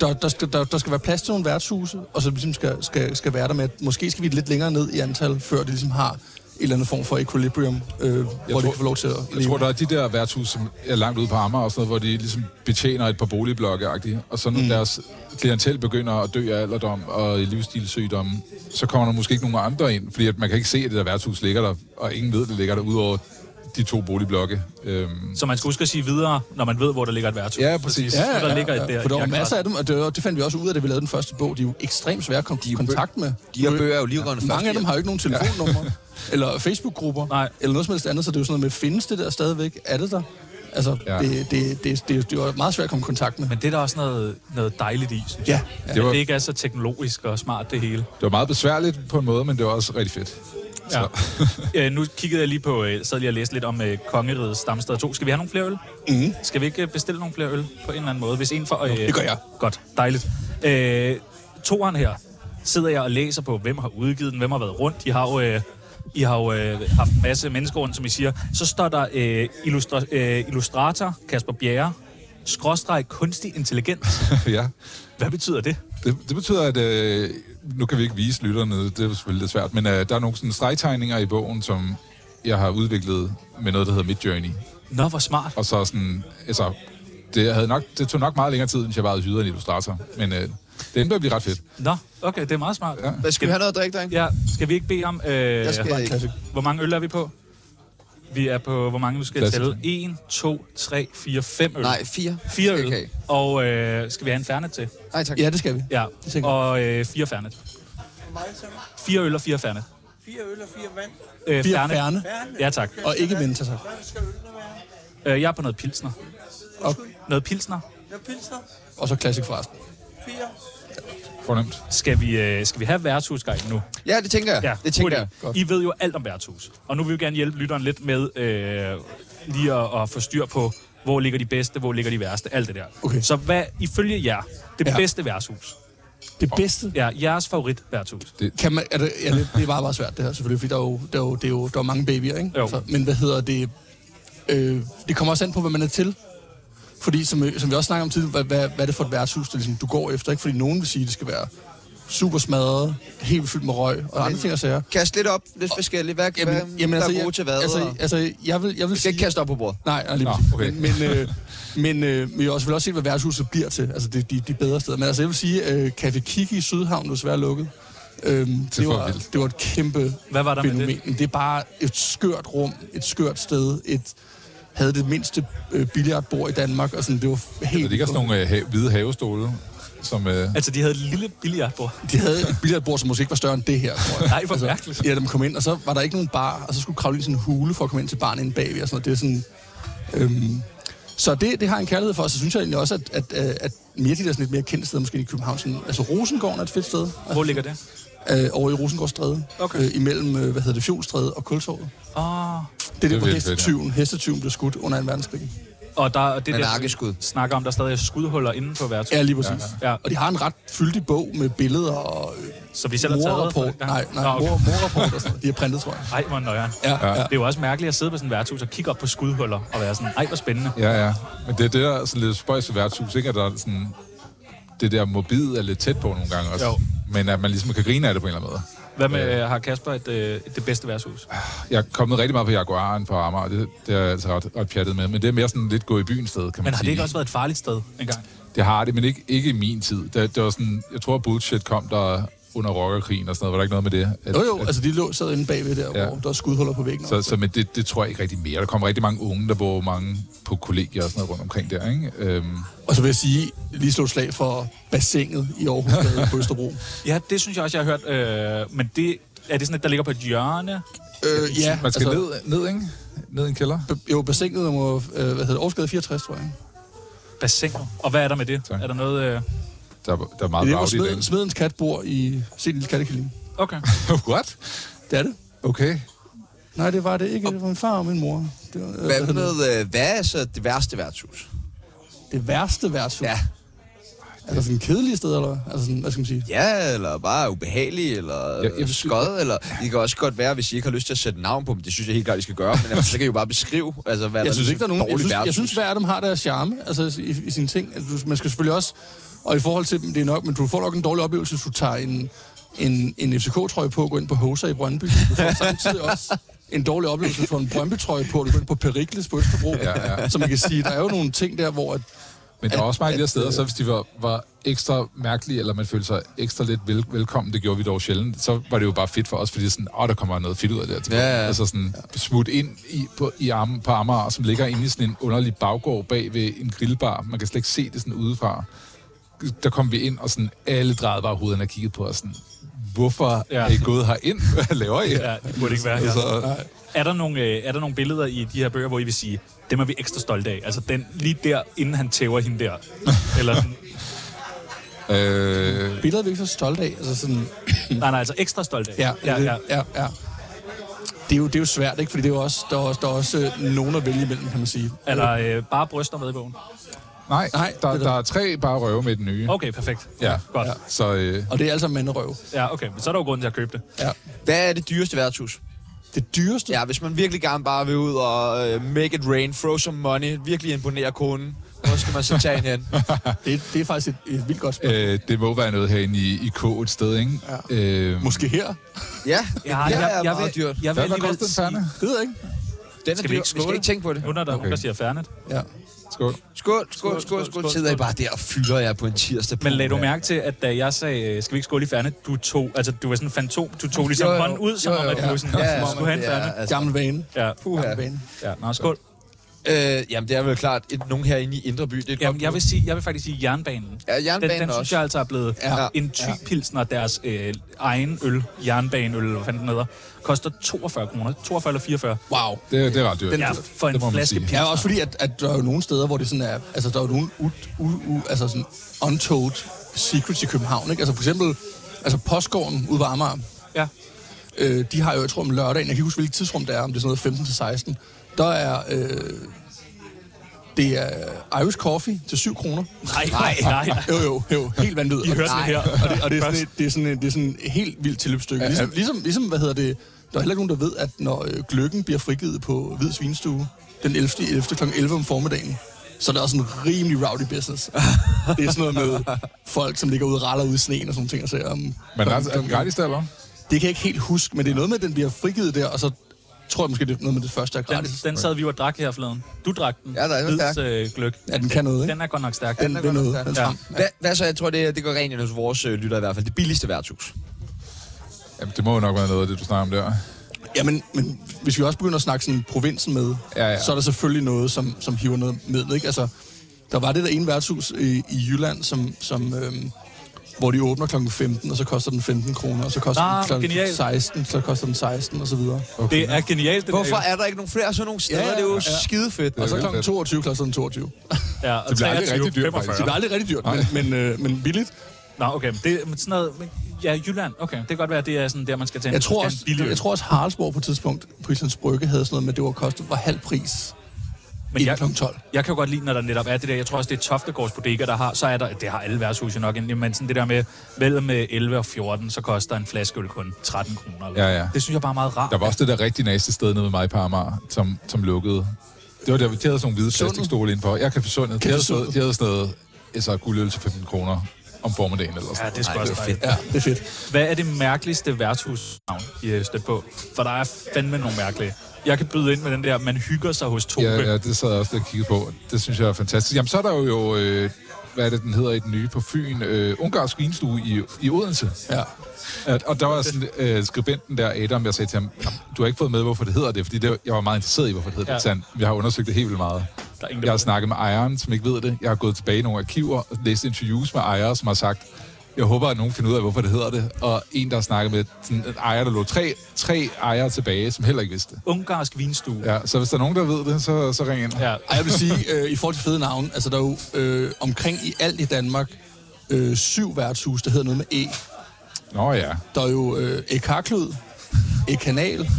der, der, skal, der, der skal være plads til nogle værtshuse, og så ligesom skal, skal, skal være der med, at måske skal vi lidt længere ned i antal, før det ligesom har en eller anden form for equilibrium, øh, hvor tror, det kan få lov til at Jeg tror, der er de der værtshus, som er langt ude på Amager og sådan noget, hvor de ligesom betjener et par boligblokke -agtige. Og så når mm. deres klientel begynder at dø af alderdom og livsstilssygdomme, så kommer der måske ikke nogen andre ind, fordi at man kan ikke se, at det der værtshus ligger der, og ingen ved, at det ligger der, udover de to boligblokke. Øhm, Så man skal huske at sige videre, når man ved, hvor der ligger et værtshus. Ja, præcis. Så der ligger et der. For der var Jeg kan masser ret- af dem, og det, var- det fandt vi også ud af, da vi lavede den første bog. De er jo ekstremt svære at komme i kontakt med. de her bøger er jo livrende først. Mange af dem har jo ikke nogen telefonnumre, eller Facebook-grupper, Nej. eller noget som helst andet, så det er jo sådan noget med, findes det der stadigvæk? Er det der? Altså, Ja. ja. det, det, det, det, det var meget svært at komme i kontakt med. Men det er der også noget, noget dejligt i, synes Ja, jeg. ja. At Det Det, var- var... det ikke er så teknologisk og smart, det hele. det var meget besværligt på en måde, men det var også rigtig fedt. Ja. øh, nu kiggede jeg lige på, øh, sad lige og læste lidt om øh, kongerigets stamsteder 2. Skal vi have nogle flere øl? Mm. Skal vi ikke øh, bestille nogle flere øl på en eller anden måde? Hvis en for, øh, det gør jeg. Godt, dejligt. Øh, toeren her sidder jeg og læser på, hvem har udgivet den, hvem har været rundt. I har jo, øh, I har jo øh, haft en masse mennesker rundt, som I siger. Så står der øh, illustra- øh, illustrator Kasper Bjerre, skråstreg kunstig intelligens. [LAUGHS] ja. Hvad betyder det? Det, det betyder, at øh, nu kan vi ikke vise lytterne, det er jo selvfølgelig lidt svært, men øh, der er nogle sådan stregtegninger i bogen, som jeg har udviklet med noget, der hedder Midjourney. Nå, hvor smart. Og så sådan, altså, det, havde nok, det tog nok meget længere tid, end jeg bare havde hyret en illustrator. Men øh, det endte med at blive ret fedt. Nå, okay, det er meget smart. Ja, Hvad, skal vi have noget at drikke, dreng? skal vi ikke bede om... Øh, Jeg skal ikke. Hvor mange øl er vi på? Vi er på, hvor mange du skal Klassisk. tælle? 1, 2, 3, 4, 5 øl. Nej, fire. 4 øl. Okay. Og øh, skal vi have en fernet til? Nej, tak. Ja, det skal vi. Ja, tænker jeg. og øh, 4 fernet. Fire øl og fire fernet. Fire øl og fire vand. Øh, Fire færne, Ja, tak. og ikke vente sig. Hvad skal ølene være? Øh, jeg er på noget pilsner. Og, Noget pilsner. Jeg pilser. og så klassik forresten. Fire. Fornemt. Skal vi, øh, skal vi have værtshusguiden nu? Ja, det tænker jeg. det tænker jeg. hurtigt. I ved jo alt om værtshus. Og nu vil vi gerne hjælpe lytteren lidt med øh, lige at, at få styr på, hvor ligger de bedste, hvor ligger de værste, alt det der. Okay. Så hvad, ifølge jer, det Ja. ja. bedste værtshus, Det bedste, ja, jeres favorit værtshus, kan man, er det, ja, det, det er bare, bare svært det her selvfølgelig, fordi der er jo, der er jo, det er jo, der er jo mange babyer, ikke? Jo. men hvad hedder det? Øh, det kommer også an på, hvad man er til. øh, Fordi, som, som vi også snakker om tidligere, hvad, hvad, hvad er det for et værtshus, der, ligesom, du går efter? Ikke? Fordi nogen vil sige, at det skal være super smadret, helt fyldt med røg og andre ting og sager. Kast lidt op, lidt forskelligt. Hvad, jamen, hvad jamen, der altså, er gode til hvad? altså, og... altså, jeg vil, jeg vil Vi skal ikke kaste op på bordet. Nej, nej lige Nå, Nå, okay. okay. Men, men, øh, men, øh, men jeg også vil også se, hvad værtshuset bliver til. Altså, det de, de bedre steder. Men altså, jeg vil sige, øh, Café Kiki i Sydhavn er desværre lukket. Øhm, det, for var, vildt. det var et kæmpe Hvad var der med fænomen. det? det er bare et skørt rum, et skørt sted, et havde det mindste øh, billiardbord i Danmark, og sådan, det var f- Der helt... ligger sådan nogle øh, ha- hvide havestole, som... Øh, Altså, de havde et lille billiardbord. De havde et billiardbord, som måske ikke var større end det her, tror jeg. Nej, hvor mærkeligt. Ja, de kom ind, og så var der ikke nogen bar, og så skulle kravle i sådan en hule for at komme ind til barnet inden bagved, og sådan noget. Det er sådan... Øhm, så det, det har jeg en kærlighed for, og så synes jeg egentlig også, at, at, øh, at mere de der sådan lidt mere kendte steder, måske i København, sådan, altså Rosengården er et fedt sted, Altså, Hvor ligger det? øh, over i Rosengårdsstræde, Okay. Ah. øh, imellem, øh, hvad hedder det, Fjolstræde og Kultorvet. Åh. Det er Det er det, hvor virkelig fedt, ja. hestetyven, hestetyven blev skudt under 2. verdenskrig. Og der, og det Med der, nakkeskud. vi snakker om, der stadig er skudhuller inde på værtshuset. Ja, lige præcis. Ja. Ja. Og de har en ret fyldig bog med billeder og øh, Så vi selv har taget for det. morrapport. Nej, nej, Nå, okay. mor, morrapport og sådan noget. De har printet, tror jeg. Ej, hvor nøjeren. Ja, ja. Det er jo også mærkeligt at sidde på sådan en værtshus og kigge op på skudhuller og være sådan, ej, hvor spændende. ja, ja. Men det er det der sådan lidt spøjs ved værtshus, ikke? At der er sådan, det der mobil er lidt tæt på nogle gange også. Jo. Men at man ligesom kan grine af det på en eller anden måde. Hvad med, øh, har Kasper et, øh, det bedste værtshus? Jeg er kommet rigtig meget på Jaguaren på Amager, og det, det er jeg altså ret, ret pjattet med. Men det er mere sådan lidt gå i byen sted, kan man Men har sige. det ikke også været et farligt sted engang? Det har det, men ikke, ikke i min tid. Det, det var sådan, jeg tror, bullshit kom der under rockerkrigen og sådan noget. Var der ikke noget med det? At, Jo, jo, At, altså de lå, sad inde bagved der, Ja. ja. hvor der er skudhuller på væggen. så, så men det, det tror jeg ikke rigtig mere. Der kommer rigtig mange unge, der bor mange på kollegier og sådan noget rundt omkring der, ikke? Øhm, Og så vil jeg sige, lige slå et slag for bassinet i Aarhus Gade på [LAUGHS] Østerbro. Ja, det synes jeg også, jeg har hørt. Øh, men det, er det sådan, at der ligger på et hjørne? øh, ja, man skal altså, ned, ned, ikke? Ned i en kælder. ned. Jo, bassinet nummer, øh, hvad hedder det, Aarhus Gade 64, tror jeg. Bassin. Og hvad er der med det? Tak. Er der noget... Øh... Der, er- der er meget Det er rowdy der, hvor i smeden, smedens kat bor i sin lille kattekilling. Okay. dag. [LAUGHS] What? Det er det. Okay. Nej, det var det ikke. Det var min far og min mor. Det, var, øh, hvad hedder Hvad, det? med, øh, hvad er så det værste værtshus? det værste værtshus. Ja. Ja. Altså sådan kedelige steder, eller hvad? altså sådan, hvad skal man sige? Ja, eller bare ubehagelig, eller jeg jeg, vil jeg sige- skod, eller... Det kan også godt være, hvis I ikke har lyst til at sætte navn på dem. Det synes jeg helt klart, I skal gøre. Men altså, så kan I jo bare beskrive, altså, hvad Jeg synes er ikke, der er nogen... Jeg synes, jeg synes hver af dem har deres charme altså, i, i sine ting. Altså, du- man skal selvfølgelig også... Og i forhold til dem, det er nok... Men du får nok en dårlig oplevelse, hvis du tager en, en, en FCK-trøje på og går ind på Hoser i Brøndby. Du [LAUGHS] får samtidig også en dårlig oplevelse, hvis du får en Brøndby-trøje på og du går ind på Perikles på Østerbro. Ja, ja. Så man kan sige, der er jo nogle ting der, hvor... At, Men der er At- også mange af de der at, steder, øh, så hvis de var, var ekstra mærkelige, eller man følte sig ekstra lidt vel, velkommen, det gjorde vi dog sjældent, så var det jo bare fedt for os, fordi sådan, åh, der kommer noget fedt ud af det. her til Ja, ja. gengæld." Altså sådan, smut ind i, på, i armen på Amager, som ligger inde i sådan en underlig baggård bag ved en grillbar. Man kan slet ikke se det sådan udefra. Der kom vi ind, og sådan, alle drejede bare hovederne og kiggede på os sådan, hvorfor Ja. ja. er I gået herind? Hvad laver I? Ja, det burde ikke være her. Altså, Er der, nogle, øh, er der nogle billeder i de her bøger, hvor I vil sige, dem er vi ekstra stolte af? Altså den lige der, inden han tæver hende der. Eller sådan, øh, billeder er vi ikke så stolte af. Altså sådan, nej, nej, altså ekstra stolte af. Ja, ja, ja. ja, ja. Det er, jo, det er jo svært, ikke? Fordi det er jo også, der er også, der er også øh, nogen at vælge imellem, kan man sige. Er der øh, bare bryster med i bogen? nej, Nej, der, det er der er tre bare røve med den nye. Okay, perfekt. Ja. Godt. Så øh, Og det er altså manderøv. Ja, okay. Men så er der jo grunden til at købe det. Ja. Hvad er det dyreste værtshus? Det dyreste Ja, hvis man virkelig gerne bare vil ud og øh, make it rain, throw some money, virkelig imponere konen, hvor skal man så tage en [LAUGHS] hen? Det, det er faktisk et, et vildt godt spørgsmål. Øh, det må være noget herinde i, i K et sted, ikke? Ja. Øh, Måske her? Ja, Ja, det jeg, er jeg, meget vil, dyrt. jeg vil Hvad var alligevel kostet sige... Ferne? Det ved jeg ikke. Den er Skal dyr. vi Vi, ikke skal skåle? ikke tænke på det. Nu er der okay. nogen, der siger Fernet. Ja. Skål. Skål, skål, skål, skål. Sidder I bare der og fylder jer på øh, en tirsdag. Men lagde du mærke til, at da jeg sagde, øh, skal vi ikke skåle i Fernet, du tog, altså du var sådan en fantom, du tog ligesom Jo, jo. hånden ud, som Jo, om jo, at ja. du var sådan, ja, ja, skulle have en ja, Fernet. altså, Gammel vane. Ja, puha. Gammel vane. ja. Nå, skål. Øh, jamen, det er vel klart, et, nogen herinde i Indre By, det er et Jamen, godt jeg bud. vil, sige, jeg vil faktisk sige jernbanen. Ja, Den, jernbanen den synes også. jeg altså er blevet ja. Ja. en typilsner, deres øh, egen øl, jernbaneøl, eller hvad fanden den hedder, koster 42 kroner, 42 eller 44. Wow. Det, det er ret dyrt. Ja, for en Det må man flaske sige. pilsner. Ja, også fordi, at, at der er jo nogle steder, hvor det sådan er... Altså, der er jo nogle u, u, u, altså sådan untold secrets i København, ikke? Altså, for eksempel... Altså, Postgården ude ved Amager, Ja. øh, de har jo, jeg tror om lørdagen, jeg kan ikke huske, hvilket tidsrum det er, om det er sådan noget 15 til 16, der er, øh, det er Irish Coffee til 7 kroner. Nej, nej, nej. [LAUGHS] nej. Jo, jo, jo, helt vanvittigt. I hørte det her. Og det, og det, er sådan Først. et, det, er sådan et, det er sådan et helt vildt tilløbsstykke. Ligesom, ligesom, ligesom, hvad hedder det, der er heller ikke nogen, der ved, at når øh, gløkken bliver frigivet på Hvid Svinestue den 11. 11. kl. 11 om formiddagen, så er det også en rimelig rowdy business. det er sådan noget med folk, som ligger ude og raller ude i sneen og sådan nogle ting. Og ser, om, Men er, er den gratis der, eller hvad? Det kan jeg ikke helt huske, men det er noget med, at den bliver frigivet der, og så tror jeg måske, det er noget med det første, der er Den, gratis. den sad vi jo og drak her forleden. Du drak den. Ja, der er den Hvids, stærk. øh, gløk. Ja, den kan noget, ikke? Den er godt nok stærk. Den, den, den, den, den, den, Ja. den, Hvad, hvad så? Jeg tror, det, det går rent ind hos vores øh, lytter i hvert fald. Det billigste værtshus. Jamen, det må jo nok være noget af det, du snakker om der. Ja, men, men hvis vi også begynder at snakke sådan provinsen med, Ja, ja, ja. ja. så er der selvfølgelig noget, som, som hiver noget med. Ikke? Altså, der var det der ene værtshus i, i Jylland, som, som, øhm, hvor de åbner kl. 15, og så koster den 15 kroner, og så koster Nå, den kl. genialt. 16, så koster den 16, og så videre. Det er genialt, det Hvorfor der. jo. er der ikke nogen flere sådan nogle steder? Ja, Ja, ja, det er jo ja. ja. skide fedt. Og så vildt kl. fedt. 22 koster den 22. Det Ja, og Det bliver aldrig 23, rigtig dyrt, faktisk. 45. er aldrig rigtig dyrt, men, men, øh, men billigt. Nå, okay. men Det, men sådan noget, men, ja, Jylland, okay. Det kan godt være, at det er sådan der, man skal tage en- Jeg tror, en også, billig øl. jeg tror også, Haraldsborg på et tidspunkt på Islands Brygge havde sådan noget med, at det var kostet var halv pris men inden jeg, kl. 12. jeg kan jo godt lide, når der netop er det der, jeg tror også, det er Toftegårds bodega, der har, så er der, det har alle værtshuse nok egentlig, men sådan det der med, mellem øh, 11 og 14, så koster en flaske øl kun 13 kroner. eller- Ja, ja. Det synes jeg bare er meget rart. Der var også det der rigtig næste sted nede ved mig på Amager, som, som lukkede. Det var der, de havde sådan nogle hvide plastikstole indenfor. Jeg kan forsundet. De havde, sådan noget- de havde sådan noget, altså guldøl til 15 kroner om formiddagen eller sådan Ja, det er sgu også dejligt. Ja, det er fedt. Hvad er det mærkeligste værtshusnavn, I er stødt på? For der er fandme nogle mærkelige. Jeg kan byde ind med den der, man hygger sig hos Tobe. Ja, ja, det sad jeg også lidt og kiggede på. Det synes jeg er fantastisk. Jamen, så er der jo, øh, hvad er det, den hedder i den nye på Fyn? Øh, Ungarsk vinstue i, i Odense. Ja. At, og der var sådan, øh, skribenten der, Adam, jeg sagde til ham, "Jamen, du har ikke fået med, hvorfor det hedder det, fordi det, jeg var meget interesseret i, hvorfor det hedder ja. Ja. det. Så han, Vi har undersøgt det helt vildt meget. Der er ingen, der jeg har ved snakket med ejeren, som ikke ved det. Jeg har gået tilbage i nogle arkiver og læst interviews med ejere, som har sagt, jeg håber, at nogen finder ud af, hvorfor det hedder det. Og en, der har snakket med sådan, en ejer, der lå tre, tre ejere tilbage, som heller ikke vidste det. Ungarsk vinstue. Ja. Ja, så hvis der er nogen, der ved det, så, så ring ind. ja. Ej, jeg vil sige, øh, i forhold til fede navne, altså der er jo øh, omkring i alt i Danmark øh, syv værtshus, der hedder noget med E. Nå ja. Der er jo øh, E. Karklud, E. Kanal,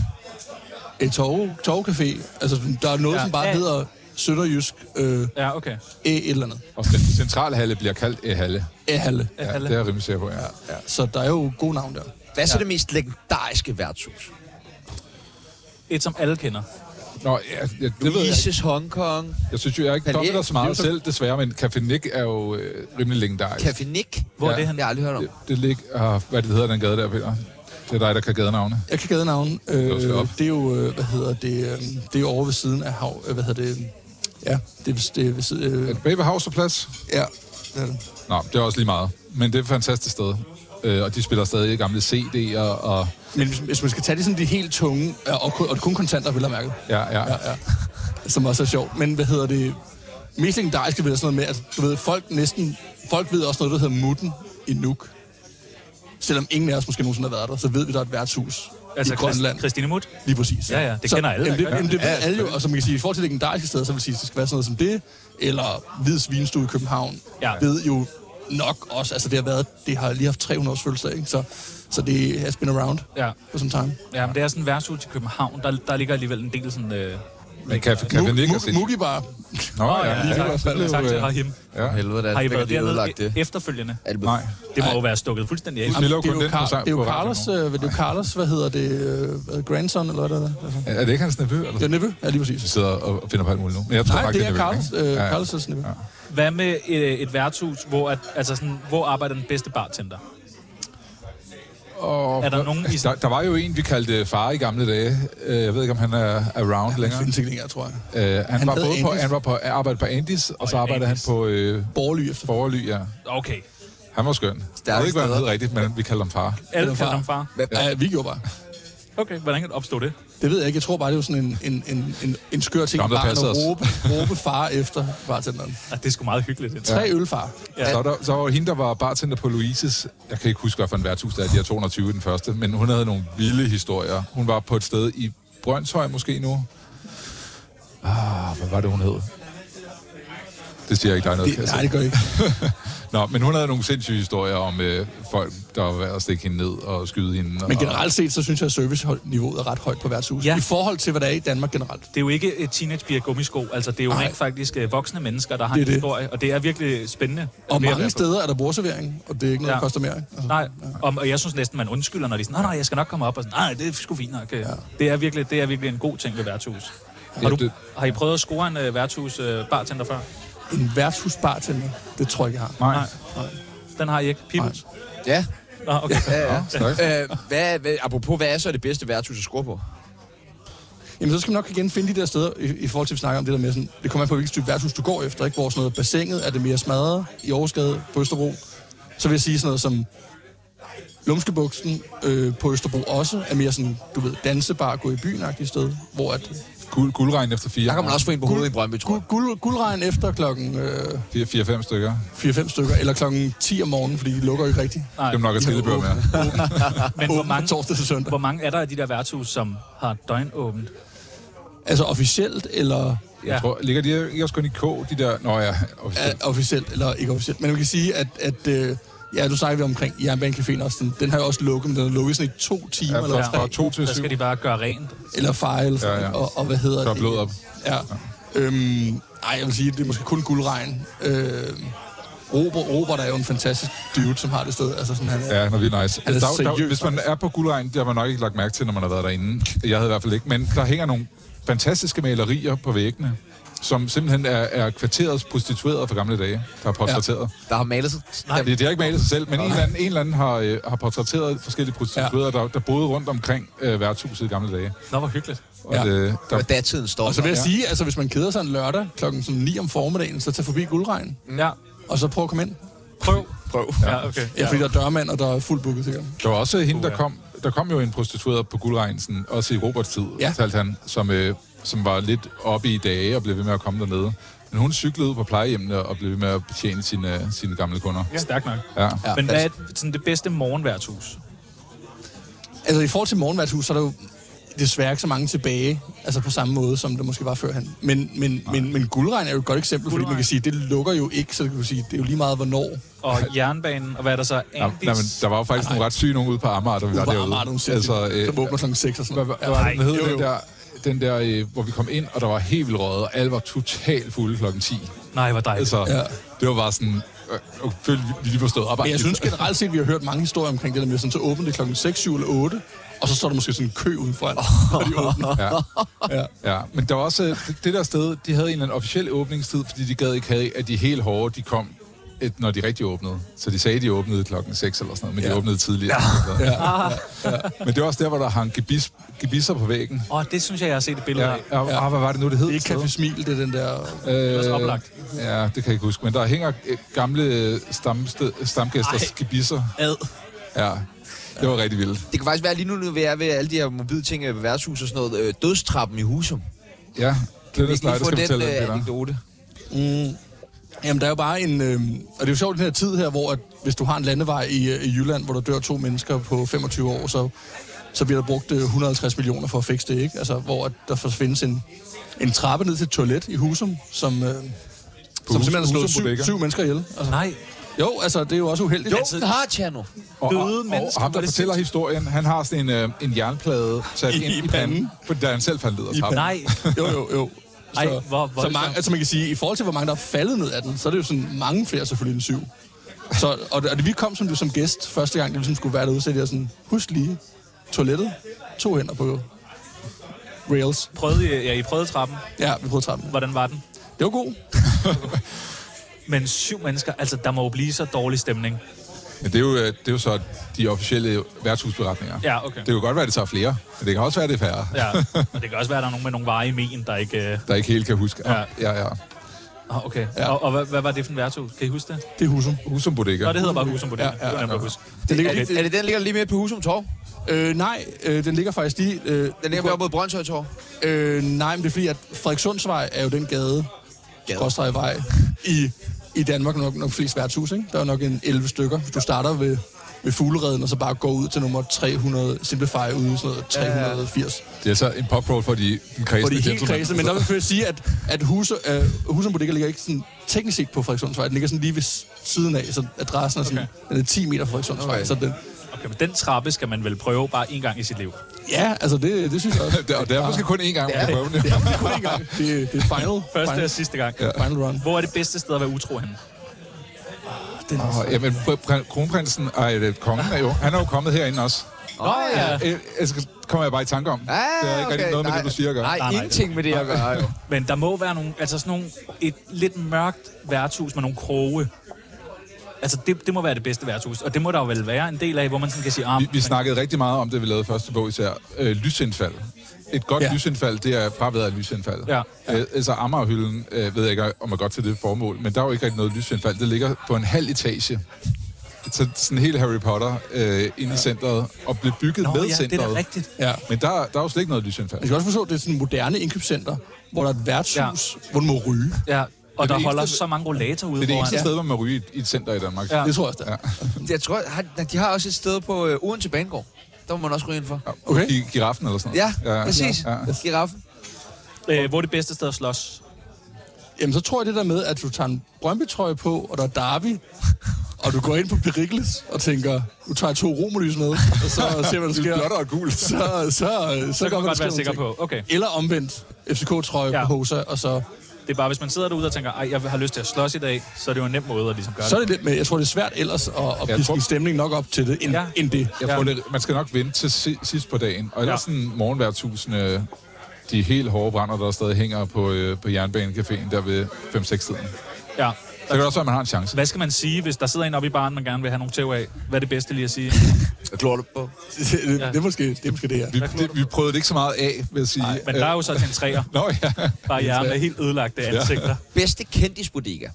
E. Torv, Torvcafé. Altså, der er noget, Ja. ja. som bare Ja. hedder Sønderjysk øh, ja, okay. E et eller andet. Og den centrale halle bliver kaldt e-halle. E-halle. Ja, Halle. det er jeg rimelig sikker på, ja. Ja. Så der er jo gode navn der. Hvad er så det mest legendariske værtshus? Et, som alle kender. Nå, ja, ja, det ved jeg ikke. Isis Hong Kong, Jeg synes jo, jeg har ikke Palæ- dobbelt så det er meget jo så- selv, desværre, men Café Nick er jo øh, rimelig legendarisk. Café Nick. Hvor Ja. er det han? Det har jeg aldrig hørt om. Det, det ligger, uh, hvad det hedder, den gade der, Peter? Det er dig, der kan gadenavne. Jeg kan gade navn. Øh, slå op. det er jo, øh, hvad hedder det, øh, det er over ved siden af hav. Øh, hvad hedder det? Ja, det er, det er ved siden... Er Øh, det Baby House og plads? ja, det er det. Nå, det er også lige meget. Men det er et fantastisk sted. Øh, og de spiller stadig gamle CD'er, og Men hvis, hvis man skal tage de, sådan, de helt tunge, og, og, kun- og kun kontanter, vil jeg mærke, ja, ja, ja, ja. som også er sjovt. Men hvad hedder det? Mest legendariske vil være sådan noget med, at du ved, folk næsten... Folk ved også noget, der hedder Mutten i Nuuk. Selvom ingen af os måske nogensinde har været der, så ved vi, der er et værtshus altså, i Altså Grønland. Christ- Christine Muth? Lige præcis. Ja, ja, det så, kender alle, Jamen, det, ikke? jamen, det ved alle jo, og som man kan sige, i forhold til legendariske steder, så vil jeg sige, at det skal være sådan noget som det, eller Hvids Vinstue i København, Ja. ja. ved jo nok også, altså det har været, det har lige haft 300 års fødselsdag, ikke? Så, så det has been around Ja. for some time. ja, men det er sådan en værtshus i København. Der, der ligger alligevel en del sådan... Øh... Men Café, Café Nick er Mu- sindssygt. Mugi Bar, Nå, ja, ja, tak, ja, tak, tak til Rahim. ja. Helvede, der, Har I været lige dernede ødelagt Altså, det. e- efterfølgende? Albert. Nej, Det må jo være stukket fuldstændig af. Vi spiller jo det er kun jo, den på Car- sang det er jo på radioen Carlos, nu. øh, det er jo Carlos, hvad hedder det, øh, hvad- Grandson, eller hvad der er det? Altså, Er er det ikke hans nevø? Eller? ja, Nevø, ja lige Vi præcis. sidder og og finder på alt muligt nu. Men jeg tror Nej, faktisk, det er nevø, Carlos, ikke? øh, Carlos' Nevø. Hvad med et, et værtshus, hvor, at, altså sådan, hvor arbejder den bedste bartender? Og Er der nogen i- der, der var jo en, vi kaldte far i gamle dage. Øh, Jeg ved ikke, om han er around ja, længere. Det findes ikke længere, tror jeg. Øh, han, Han var havde både på, Andis. han var på arbejde på Andis, og så ja, arbejdede han Andis. på øh, Borgerly efter. Forly, ja. Okay. Han var skøn. Jeg ved ikke, hvad han hed rigtigt, men vi kaldte ham far. Alle Eller kalder far. ham far. Ja, vi gjorde bare. Okay, hvordan kan det opstå det? Det ved jeg ikke. Jeg tror bare, det var sådan en, en, en, en, en skør ting. Nå, men der Bare at passer os. råbe, råbe far efter bartenderen. Ah, det er sgu meget hyggeligt. Det. Tre øl, far. Ja. Så, var der, så var hende, der var bartender på Louises. Jeg kan ikke huske, hvad for en værtshus der er. De er 220 i den første. Men hun havde nogle vilde historier. Hun var på et sted i Brøndshøj måske nu. Ah, hvad var det, hun hed? Det siger jeg ikke dig noget, kan jeg Det, se. nej, det gør jeg ikke. Nå, men hun havde nogle sindssyge historier om øh, folk, der var ved at stikke hende ned og skyde hende. Men og, generelt set, så synes jeg, at serviceniveauet er ret højt på værtshuset. Ja. Ja. I forhold til, hvad der er i Danmark generelt. det er jo ikke et teenagepiger gummisko. Altså, det er jo Nej. rent faktisk øh, voksne mennesker, der har Det en er det. historie. Og det er virkelig spændende. Og Det er mange at være på. steder er der bordservering, og det er ikke noget, Ja. der koster mere. ikke? Altså, Nej, og, og jeg synes næsten, man undskylder, når de er sådan, nej, nej, jeg skal nok komme op, og sådan, nej, det er sgu fint nok. Ja. Det, er virkelig, det er virkelig en god ting ved værtshus. Har, Ja, du, det- har I prøvet at score en uh, værtshus uh, øh, bartender før? en værtshusbar til mig. Det tror jeg ikke, jeg har. Nej. Den har I ikke. Peoples? Ja. Nå, okay. ja, ja. Snak. Øh, hvad, hvad, apropos, hvad er så det bedste værtshus at score på? Jamen, så skal man nok igen finde de der steder, i, i forhold til, at vi snakker om det der med sådan, det kommer an på, hvilket type værtshus du går efter, ikke? Hvor sådan noget bassinet, er det mere smadret i Aarhusgade på Østerbro? Så vil jeg sige sådan noget som Lumskebuksen øh, på Østerbro også er mere sådan, du ved, dansebar, gå i byen sted, hvor at Guld, guldregn efter fire. Der kan man også få en på hovedet i Brøndby, tror guld, jeg. guld, guldregn efter klokken øh, Fire, fire, fem stykker. 4-5 stykker, eller klokken 10 om morgenen, fordi de lukker jo ikke rigtigt. Nej. Dem nok er skidebøger med. [LAUGHS] Men hvor Åbent fra mange, torsdag til søndag. hvor mange er der af de der værtshus, som har døgnåbent? Altså officielt eller Jeg tror, ligger de her- ikke også kun i K, de der... Nå ja, officielt. er officielt eller ikke officielt. Men man kan sige, at, at øh, ja, nu snakker vi omkring Jernbanecaféen også. Den, den har jo også lukket, men den har lukket sådan i to timer Ja, ja, eller, fra- tre, fra to til Der syv. skal de bare gøre rent. eller fire, eller sådan, Ja, ja, ja. ja. Og, og hvad hedder Så er det? blod op. Ja. Øhm, ej, jeg vil sige, det er måske kun guldregn. Øh, Robert, Robert er jo en fantastisk dude, som har det sted. Altså sådan, han er, Ja, når vi er nice. Altså, Altså, der, der, seriøst, hvis man er på guldregn, det har man nok ikke lagt mærke til, når man har været derinde. Jeg havde i hvert fald ikke. Men der hænger nogle fantastiske malerier på væggene, som simpelthen er, er kvarterets prostituerede fra gamle dage, der er portrætteret. Der har malet sig. Ja. Det, det har ikke malet sig selv, men en eller anden, en eller anden har, øh, har portrætteret forskellige prostituerede, ja. der, der boede rundt omkring øh, værtshuset i gamle dage. Nå, hvor hyggeligt. Og Ja. ja. det, der, Og datiden står og så der. vil jeg sige, altså hvis man keder sig en lørdag klokken sådan 9 om formiddagen, så tag forbi guldregn, Ja. og så prøv at komme ind. Prøv. Prøv. Ja, okay. Ja, fordi der er dørmand, og der er fuld booket sikkert. Der var også hende, der ja. kom, der kom jo en prostitueret på Guldregnsen, også i Roberts tid, ja. Ja. talte han, som, øh, som var lidt oppe i dage og blev ved med at komme dernede. Men hun cyklede ud på plejehjemmene og blev ved med at betjene sine, sine gamle kunder. Ja. Stærkt nok. Ja. ja. Men hvad er sådan det bedste morgenværtshus? Altså i forhold til morgenværtshus, så er der jo desværre ikke så mange tilbage, altså på samme måde, som det måske var førhen. Men, men, men, men guldregn er jo et godt eksempel, fordi man Guldregn. kan sige, det lukker jo ikke, så du kan sige, det er jo lige meget, hvornår. Og jernbanen, og hvad er der så? Nej, Andis? men der var jo faktisk nogle ret syge nogen ude på Amager, der vi var Uber derude. Amager, nogle altså, øh, som åbner klokken 6 og hvad, sådan noget. hvad var det, den hed, jo, den jo. der, den der øh, hvor vi kom ind, og der var helt vildt røget, og alle var totalt fulde klokken 10. Nej, hvor dejligt. Altså, ja. Ja. det var bare sådan, øh, øh, følte vi- vi lige var stået op. Men jeg synes generelt set, vi har hørt mange historier omkring det der med, sådan, så åbner det klokken 6, 7 eller 8, og så står der måske sådan en kø udenfor, når de åbner. Ja. ja. ja. Men der var også øh, det- det der sted, de havde en eller anden officiel åbningstid, fordi de gad ikke have, at de helt hårde, de kom, et, når de rigtig åbnede. Så de sagde, at de åbnede klokken 6 eller sådan noget, men ja. de Ja. åbnede tidligere. Ja. Ja. Ja. Men det var også der, hvor der hang gebis, gebisser på væggen. Åh, det synes jeg, jeg har set et billede Ja. ja. af. Ja. Ja. hvad var det nu, det hed? Det er ikke Café Smil, det er den der... Øh, også oplagt. ja, det kan jeg ikke huske. Men der hænger øh, gamle øh, stamste, stamgæsters Ej. gebisser. Ad. Ja, det var rigtig vildt. Det kan faktisk være lige nu, nu vi er ved alle de her mobile ting, øh, værtshus og sådan noget, øh, dødstrappen i Husum. Ja, Ikke Glennis lige Lejde få skal den fortælle, øh, hvad det er. anekdote. Mm. Jamen, der er jo bare en... Øh, og det er jo sjovt i den her tid her, hvor at, hvis du har en landevej i, øh, i Jylland, hvor der dør to mennesker på 25 år, så, så bliver der brugt øh, 150 millioner for at fikse det, ikke? Altså, hvor at der forsvindes en, en trappe ned til et toilet i Husum, som... Øh, som simpelthen har slået Husum syv, Bodega. syv mennesker ihjel. Altså, Nej, jo, altså, det er jo også uheldigt. Jo. Det har Tjerno. Og, Døde og, mennesker, og ham, hvor det der fortæller sindssygt. historien, han har sådan en, øh, en jernplade sat I- ind i i panden, for da han selv fandt led og trappen. nej. Jo, jo, jo. Så, Ej, hvor så voldsomt. mange, altså man kan sige, i forhold til, hvor mange der er faldet ned af den, så er det jo sådan mange flere selvfølgelig end syv. Så, og, det, og det, vi kom som, du, som gæst første gang, det ligesom skulle være derude, så det er sådan, husk lige toilettet, to hænder på rails. Prøvede, I- ja, I prøvede trappen. Ja, vi prøvede trappen. Hvordan var den? Det var god. Men syv mennesker, altså der må jo blive så dårlig stemning. Men det er, jo, øh, det er jo så de officielle værtshusberetninger. Ja, okay. Det kan jo godt være, at det tager flere, men det kan også være, at det er færre, ja. Ja, og det kan også være, at der er nogen med nogle veje i men, der ikke... Øh... der ikke helt kan huske. Ja. Ja, ja. ja. Ah, okay. Ja. Og, og hvad, hvad, var det for en værtshus? Kan I huske det? Det er Husum. Husum Bodega. Nå, det hedder bare Husum på det. Ja, ja, ja. Det var nemt at huske. Det ligger, Er det, er det den, der ligger lige midt på Husum Torv? øh, nej, øh, den ligger faktisk lige... Øh, Den ligger op mod Brøndshøj Torv. øh, nej, men det er fordi, at Frederikssundsvej er jo den gade, Gade. skråstrej vej, i, i Danmark nok, nok flest værtshus, ikke? Der er jo nok en 11 stykker. Hvis du starter ved, ved fuglereden, og så bare går ud til nummer 300, Simplify ude i sådan noget 380. Det er så en pop for de, den Hvor kredsende de er helt gentleman. kredse, men der vil jeg sige, at, at hus, øh, Husum Bodega ligger ikke sådan teknisk set på Frederikssundsvej. Den ligger sådan lige ved siden af, så adressen er sådan, okay. den er 10 meter fra Frederikssundsvej. Okay. Okay. Så den, Okay, men den trappe skal man vel prøve bare en gang i sit liv. ja, altså det, det synes jeg også. [LAUGHS] Der- Og det er måske kun én gang, man kan prøve [LAUGHS] det. Jamen, det er [LAUGHS] kun én gang. Det, det er final. Første final, og sidste gang. Ja. final run. Hvor er det bedste sted at være utro henne? Åh, Jamen, pr- pr- kronprinsen, ej, det er kongen er jo, han er jo kommet herinde også. Åh oh, ja. Øh, altså, kommer jeg bare i tanke om. Ah, det har ikke rigtig noget med det, du siger at gøre. Nej, Nej, nej, ingenting med det at gøre, jo. Men der må være nogle, altså sådan nogle, et lidt mørkt værtshus med nogle kroge. Altså, det, det må være det bedste værtshus, og det må der jo vel være en del af, hvor man sådan kan sige, ah, Vi, vi men- snakkede rigtig meget om det, vi lavede første bog især. Øh, lysindfald. Et godt ja. Ja. lysindfald, det er fraværet af lysindfald. Ja. Øh, altså Amagerhylden, øh, ved jeg ikke, om jeg godt til det formål, men der er jo ikke rigtig noget lysindfald. Det ligger på en halv etage. Så sådan helt Harry Potter øh, ind i centret, og blev bygget Nå, med ja, centret. det er da rigtigt. Ja. Men der, der er jo slet ikke noget lysindfald. Man skal også forstå, at det er sådan et moderne indkøbscenter, hvor der er et værtshus, ja. hvor du må ryge. Ja, og der eneste- holder så mange rollator ude Det er det foran. eneste sted, hvor man ryger i et- i et center i Danmark. Ja. Det tror jeg også, det er. Jeg tror, har- de har også et sted på øh, Odense Banegård. Der må man også ryge ind for. Okay. Gi- giraffen eller sådan Ja, noget. præcis. Ja. Giraffen. Øh, hvor er det bedste sted at slås? Jamen, så tror jeg det der med, at du tager en brøndbetrøje på, og der er derby, og du går ind på Perikles og tænker, nu tager jeg to romerlys [LAUGHS] med, og så ser, hvad der Det er sker. blåt og gult. Så, så, så, så, Så kan der man godt sker være nogle sikker ting. på, okay. Eller omvendt, FCK-trøje Ja. ja. på Hosa, og så... Det er bare, hvis man sidder derude og tænker, ej, jeg har lyst til at slås i dag, så er det jo en nem måde at ligesom gøre Så er det. det lidt med, jeg tror, det er svært ellers at, at piske tror- en stemning nok op til det, end, Ja. ja. end det. [LAUGHS] Jeg Ja. tror, det, man skal nok vente til si- sidst på dagen. Og ellers Ja. ja. sådan morgenværtshusene, de helt hårde brænder, der stadig hænger på, øh, på Jernbanecaféen der ved 5-6-tiden. Ja. Så kan det også være, at man har en chance. Hvad skal man sige, hvis der sidder en oppe i baren, man gerne vil have nogle tæv af? Hvad er det bedste lige at [LAUGHS] sige? Klor det på. Det, det, det, er måske, det er måske det her. Vi, det, vi prøvede det ikke så meget af, vil jeg sige. Nej, Men der er jo så til en træer, Nå ja. bare jer med helt ødelagte ansigter. Bedste kendisbodega.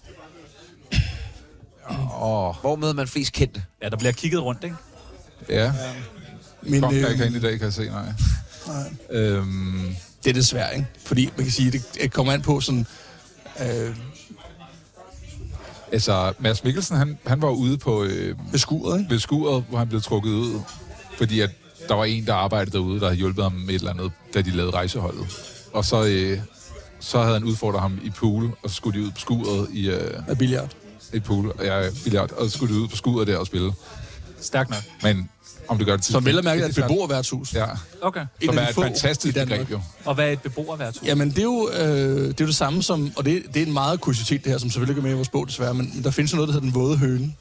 Åh, Hvor møder man flest kendte? Ja, der bliver kigget rundt, ikke? ja. Men, Kom, der er øh, ikke herinde i dag, kan jeg se. Nej. Øhm, det er desværre, ikke? Fordi man kan sige, det, det kommer an på sådan... Øh, altså, Mads Mikkelsen, han, han var ude på... Øh, med skuret, ikke? ved skuret, hvor han blev trukket ud, fordi at der var en, der arbejdede derude, der havde hjulpet ham med et eller andet, da de lavede rejseholdet. Og så, øh, så havde han udfordret ham i pool, og så skulle de ud på skuret i, øh, Af billiard. i pool, ja, billiard, og så skulle de ud på skuret der og spille. Stærkt nok. Men om det gør det Som tidspunkt- vel at mærke er et det er beboerværtshus. Ja, Okay. Et som af er de et få fantastisk i Danmark. begreb jo. Og hvad er et beboerværtshus? Jamen, det er jo, øh, det, er jo det samme som... Og det, det er en meget kuriositet, det her, som selvfølgelig ikke er med i vores bog, desværre. Men men der findes jo noget, der hedder Den Våde Høne.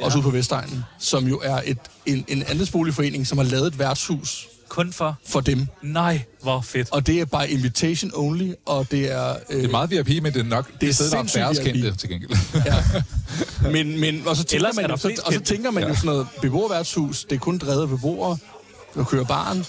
Ja. Også ude på Vestegnen. Som jo er et, en, en andelsboligforening, som har lavet et værtshus Kun for... for dem. Nej, hvor fedt. Og det er by invitation only, og det er... Øh, Det er meget VIP, men det er nok det, er er sted, der er sindssygt færrest VIP. kendte til gengæld. ja. men, men, og så tænker Ellers er man, der jo, flest så, og så kendte. tænker man ja. jo sådan noget beboerværtshus, det er kun drevet af beboere, der kører barn.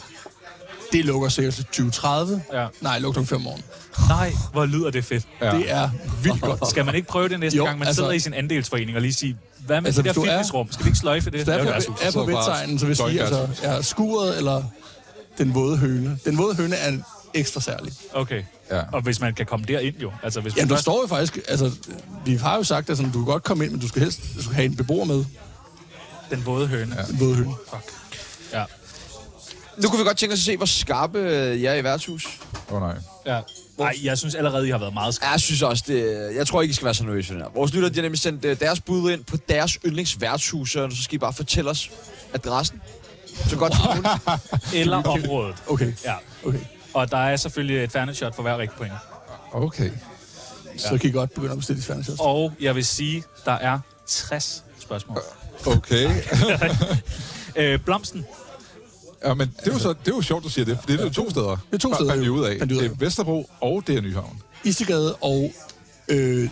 Det lukker sikkert til 2030. Ja. Nej, lukker om fem år. Nej, hvor lyder det fedt. Ja. Ja. Det er vildt [LAUGHS] godt. Skal man ikke prøve det næste jo, Jo, gang, man altså, altså- sidder i sin andelsforening og lige sige, hvad med altså, Altså, det der hvis du er- fitnessrum? Skal vi ikke sløjfe det? Så Lav er et på, værtshus. er på så bare vestegnen, så vil jeg sige, altså, støjgræs. er skuret eller den våde høne. Den våde høne er ekstra særlig. Okay. Ja. Og hvis man kan komme derind jo. Altså, hvis man Jamen, der først- står jo faktisk, altså, vi har jo sagt, at sådan, du kan godt komme ind, men du skal helst du skal have en beboer med, Den våde høne. Ja. den våde høne. ja. Nu kunne vi godt tænke os at se, hvor skarpe øh, jeg er i værtshus. Åh oh, nej. ja. Nej, jeg synes allerede, I har været meget Ja, skræmt. jeg synes også, det, jeg tror ikke, I skal være så nervøse for det her. Vores lytter, de har nemlig sendt øh, deres bud ind på deres yndlingsværtshus, og så skal I bare fortælle os adressen. Så godt som muligt. Eller området. Okay, Ja. okay. Og der er selvfølgelig et fernishot for hver rigtig point. Okay. Så kan I godt begynde at bestille de færdige Og jeg vil sige, der er 60 spørgsmål. Okay. Øh, Blomsten, Ja, men det er, jo så, det er jo sjovt, du siger det, for det er jo to steder. Det er to steder, Fandt vi jo. ud af. Fandt vi ud Det af. er Vesterbro, og det er Nyhavn. Istegade og øh,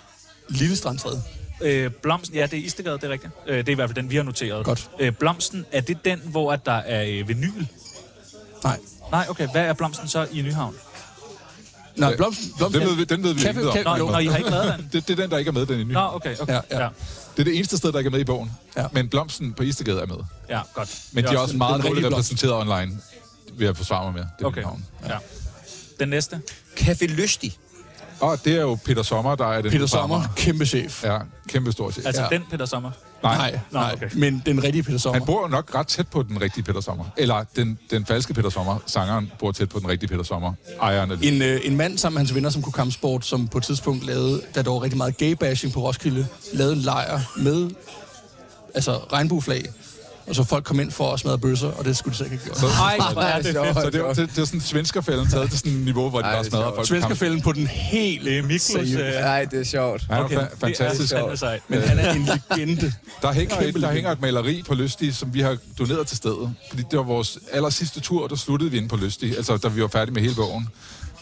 Lille Strandstræde. Øh, blomsten, ja, det er Istegade, det er rigtigt. Øh, det er i hvert fald den, vi har noteret. Godt. Øh, blomsten, er det den, hvor at der er øh, vinyl? Nej. Nej, okay. Hvad er blomsten så i Nyhavn? Nej, Blomsten. blomsten Øh, Den ved vi, den ved vi Café- intet om. Café- Nå, Nej, jo, hvor- når I har ikke været den. Det, det er den, der ikke er med, den er ny. Nå, okay, okay. Ja, ja. Det er det eneste sted, der ikke er med i bogen. Ja. Men Blomsten på Istegade er med. ja godt. Men de er også meget den dårligt rigtige repræsenteret online, vil jeg forsvare mig med. Det er Okay, Nyhavn. ja. Den næste. Café Lystig. Og det er jo Peter Sommer, der er den Peter nye Sommer, farmer. kæmpe chef. Ja, kæmpe stor chef. Altså Ja. den, Peter Sommer. Nej, Nå, nej, okay. men den rigtige Peter Sommer. Han bor jo nok ret tæt på den rigtige Peter Sommer. Eller den, den falske Peter Sommer. Sangeren bor tæt på den rigtige Peter Sommer. Ejeren af det. En, øh, en mand sammen med hans venner som kunne kampsport, som på et tidspunkt lavede, da der var rigtig meget gay-bashing på Roskilde, lavede en lejr med altså regnbueflag og så folk kom ind for at smadre bøsser, og det skulle de sikkert ikke gøre. Ej, hvor er det fedt. Så det, var, det, det var sådan svenskerfælden taget til sådan et niveau, hvor de Ej, bare det er smadrer sjovt. folk. Svenskerfælden på den helt Det er Miklos... Øh, Nej, det er sjovt. Han okay, er fa- fantastisk. Det er, det er Men han er en legende. Der hænger, et, der legende. hænger et maleri på Lystig, som vi har doneret til stedet. Fordi det var vores aller sidste tur, der sluttede vi inde på Lystig, altså da vi var færdige med hele bogen.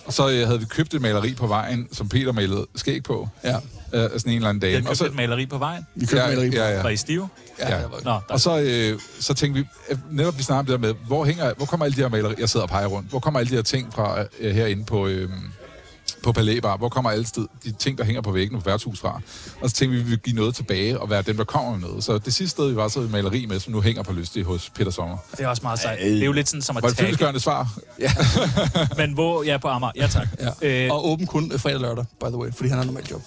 Og så øh, havde vi købt et maleri på vejen, som Peter malede skæg på. Ja. Øh, af sådan en eller anden dame. jeg Og købte et maleri på vejen. Vi købte ja, maleri på. ja, ja. Var I stive? Ja. jeg var- Nå, der, Og så, øh, så tænkte vi, at netop vi snakker om det der med, hvor, hænger, hvor kommer alle de her malerier, jeg sidder og peger rundt, hvor kommer alle de her ting fra øh, herinde på, øh, på Palæbar, hvor kommer alle sted, de ting, der hænger på væggen på værtshus fra. Og så tænkte vi, at vi ville give noget tilbage og være dem, der kommer med noget. Så det sidste sted, vi var, så havde vi maleri med, som nu hænger på lystig hos Peter Sommer. det er også meget sejt. Det er jo lidt sådan som at Var det tagge, fyldesgørende svar? men hvor... Ja, på Amager. Ja, tak. Øh, Og åben kun øh, fredag og lørdag, by the way, fordi han har normalt job.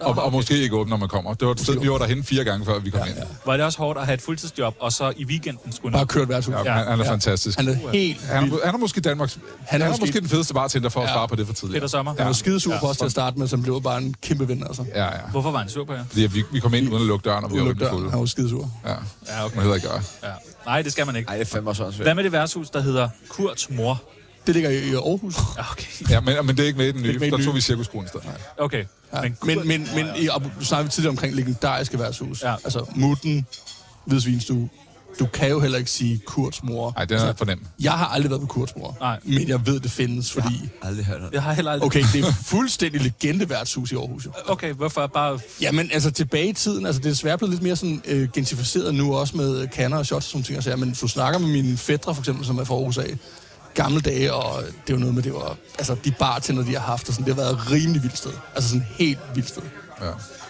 Og, og måske ikke åbent, når man kommer. Det var et sted, vi var derhen fire gange, før vi kom ind. var det også hårdt at have et fuldtidsjob, og så i weekenden skulle Bare nok... kørt værtshus. Ja, han, han er fantastisk. Han er helt Han er, han er måske Danmarks... Han er, han er måske den fedeste bartender for at svare på det for tidligere. Peter Sommer. Han var skidesur på os til at starte med, som blev bare en kæmpe ven, altså. Ja, ja. Hvorfor var han sur på jer? Fordi vi, vi kom ind uden at lukke døren, og vi var Uluk uden dør, fulde. han var skidesur. Ja, Ja, man hedder ikke gøre. Ja. Nej, det skal man ikke. Nej, det er fandme også svært. Hvad med det værtshus, der hedder Kurts mor? Det ligger i i Aarhus. Ja, Okay, Ja, men, men det er ikke med i den nye, ikke med i der den tog nye. vi cirkuskronen i stedet. okay. Ja. Men, Men, men, men i, og nu snakker vi tidligere omkring legendariske værtshus. Ja. Altså Mutten, Hvidsvinstue. Du kan jo heller ikke sige Kurts mor. Altså, Nej, den er for nem. Jeg har aldrig været på Kurts mor, Nej. men jeg ved, det findes, fordi... Aldrig hørt om det. jeg har heller aldrig... [LAUGHS] Okay, det er fuldstændig legende værtshus i Aarhus. Jo. Okay, hvorfor bare... Jamen, altså tilbage i tiden, altså det er desværre blevet lidt mere sådan øh, gentrificeret nu også med øh, kanner og shots og sådan ting og sager, men hvis du snakker med mine fædre for eksempel, som er fra Aarhus af, gamle dage, og det er jo noget med, det var, altså de bartender, de har haft, og sådan, det har været et rimelig vildt sted. Altså sådan helt vildt sted. Ja.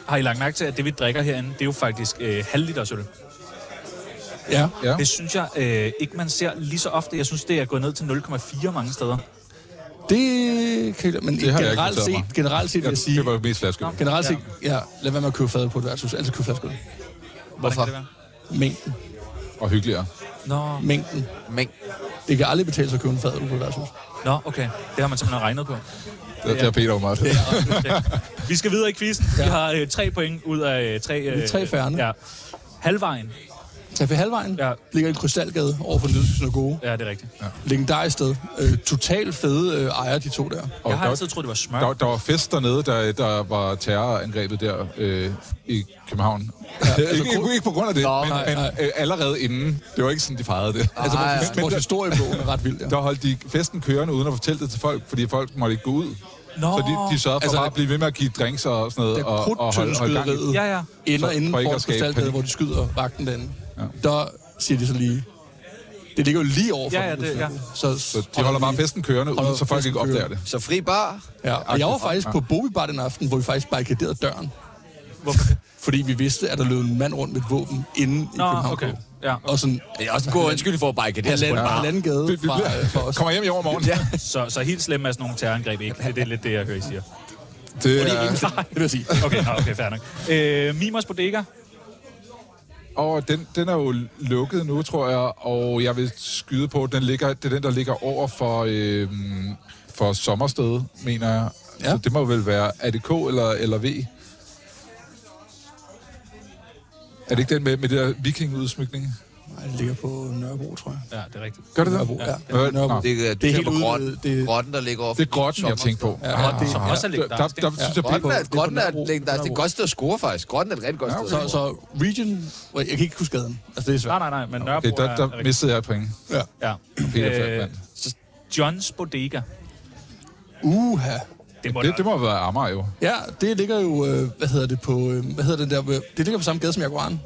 Har I lagt mærke til, at det vi drikker herinde, det er jo faktisk øh, halvliters øl? Ja. ja. Det synes jeg øh, ikke, man ser lige så ofte. Jeg synes, det er gået ned til 0,4 mange steder. Det kan men Det har jeg ikke generelt, noteret mig. set, generelt set vil jeg Jeg sige, køber mest flaske. generelt set, ja, lad være med at købe fad på et værtshus, altid købe flasker. Hvorfor? Kan det være? Mængden, Og hyggeligere. Nå, mængden. Mæng. Det kan aldrig betale sig at købe en fad på et værtshus. nå, okay. Det har man simpelthen regnet på. Det, det er Peter jo meget. Ja. Vi skal videre i quizzen. Vi har øh, tre point ud af øh, tre... Øh, er tre færrene. Ja. Halvvejen. Tag ved halvvejen, Ja. ja. ligger i Krystalgade over for den jødiske synagoge. Ja, det er rigtigt. Ja. Legendarisk sted. Øh, total fede øh, ejer, de to der. Og Jeg har der- altid troet, det var smør. Der, der var fest dernede, der, der var terrorangrebet der øh, i København. Ja, ikke, ikke, ikke på grund af det, Nå, men, nej, men øh, allerede inden. Det var ikke sådan, de fejrede det. Altså, Ej, men- men vores der- historiebogen er ret vild, ja. der holdt de festen kørende uden at fortælle det til folk, fordi folk måtte ikke gå ud. Nå. Så de, de sørgede for Altså, altså, bare at blive ved med at give drinks og sådan noget. Det er og, og holde, holde gang i krudtøndeskyderiet Ja, ja. ender For- inden for for ikke at skabe Krystalgade, panik. hvor de skyder vagten derinde. Ja. Der siger de så lige... Det ligger jo lige over for Ja, ja, den det- jødiske ja. synagoge. Så, Så Øh, de holder bare festen kørende, uden Holder så folk festen ikke opdager det. Så fri bar. Ja, og jeg var faktisk på Bowie Bar den aften, hvor vi faktisk barrikaderede døren. Hvorfor det? Fordi vi vidste, at der løb en mand rundt med et våben inde i Nå, København. okay. K. Ja. Og sådan Det er også en god undskyldning for at bare ikke det her halvanden, spurgt bare. halvanden gade Vi, vi fra, øh, fra bliver, os. kommer hjem i overmorgen. Ja. Så, så helt slemme er sådan nogle terrorangreb ikke. Det, det er lidt det, jeg hører, I siger. Det er, Det vil jeg sige. Okay, nå, okay, fair nok. Øh, Mimers Bodega. og den, den er jo lukket nu, tror jeg, og jeg vil skyde på, at den ligger, det er den, der ligger over for, øh, for sommersted, mener jeg. Ja. Så det må vel være ADK eller, eller V. Er det ikke den med, med det der vikingudsmykning? Nej, det ligger på Nørrebro, tror jeg. Ja, det er rigtigt. Gør det det? Nørrebro, ja. Hvad- Nørrebro. Nå, Det, er- Det er du helt helt på ude- grotten, det- grotten, der ligger over. det er grotten, jeg tænker på. Ja, Grotten, det- som også er Der, der, legendarisk. der ikke? synes jeg, Grotten er, det er på grotten er, Nørrebro. det er et godt sted at score, faktisk. Grotten er et rigtig godt sted. Så, så Region... Jeg kan ikke huske gaden. Altså, det er Nej, nej, svært. nej, men Nørrebro okay, okay, der, er der rigtigt. mistede jeg et point. Ja. Ja. Øh, Peter Falkman. så Johns Bodega. Uha. Det må Det, det må være Amager jo. Ja, det ligger jo... Øh, hvad hedder det på... Øh, hvad hedder den der... øh, Det ligger på samme gade som Jaguaren.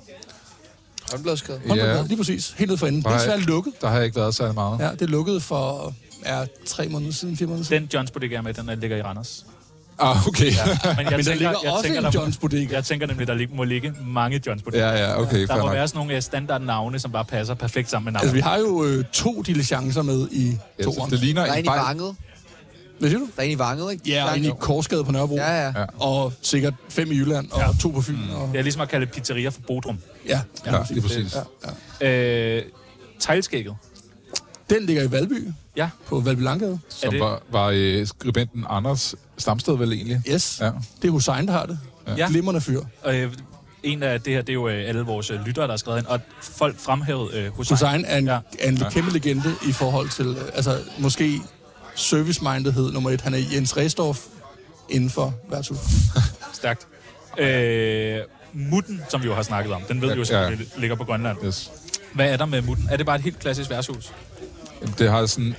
Håndbladskade. Ja. Lige præcis. Helt ned for enden. Det er Nej. svært lukket. Der har jeg ikke været særlig meget. Ja, det er lukket for... Er tre måneder siden, fire måneder siden. Den Johns Bodega er med, den der ligger i Randers. Ah, okay. Men, jeg [LAUGHS] Men der ligger også en Johns Bodega. Jeg tænker nemlig, der lig- må ligge mange Johns Bodega. Ja, ja, okay. Der fair må nok. være sådan nogle øh, standardnavne, som bare passer perfekt sammen med navnet. Altså, vi har jo øh, to diligencer med i Ja, så toeren. det ligner Der er en en i fejl. vanget. Hvad siger du? Der er en i vanget, ikke? Ja, og en i Korsgade på Nørrebro. Ja, ja. Ja. Og sikkert fem i Jylland, og to på Fyn. Og, Det er ligesom at kalde pizzerier for Bodrum. ja, Ja, lige præcis. Ja. Øh, Tejlskægget. Den ligger i Valby, Ja, på Valby Langgade. Er Som det- var, var øh, skribenten Anders Stamsted vel egentlig? Yes, Ja. det er Hussein, der har det. Ja. Glimrende fyr. øh, en af det her, det er jo øh, alle vores øh, lyttere, der har skrevet ind, og folk fremhævede øh, Hussein. Hussein er en, Ja. ja. er en kæmpe legende i forhold til, øh, altså måske service-mindedhed nummer et. Han er Jens Restorff inden for værtshus. Stærkt. Øh, mutten, som vi jo har snakket om, den ved vi jo, Ja, som ja. ja. ligger på Grønland. Yes. Hvad er der med mutten? Er det bare et helt klassisk værtshus? Det har sådan,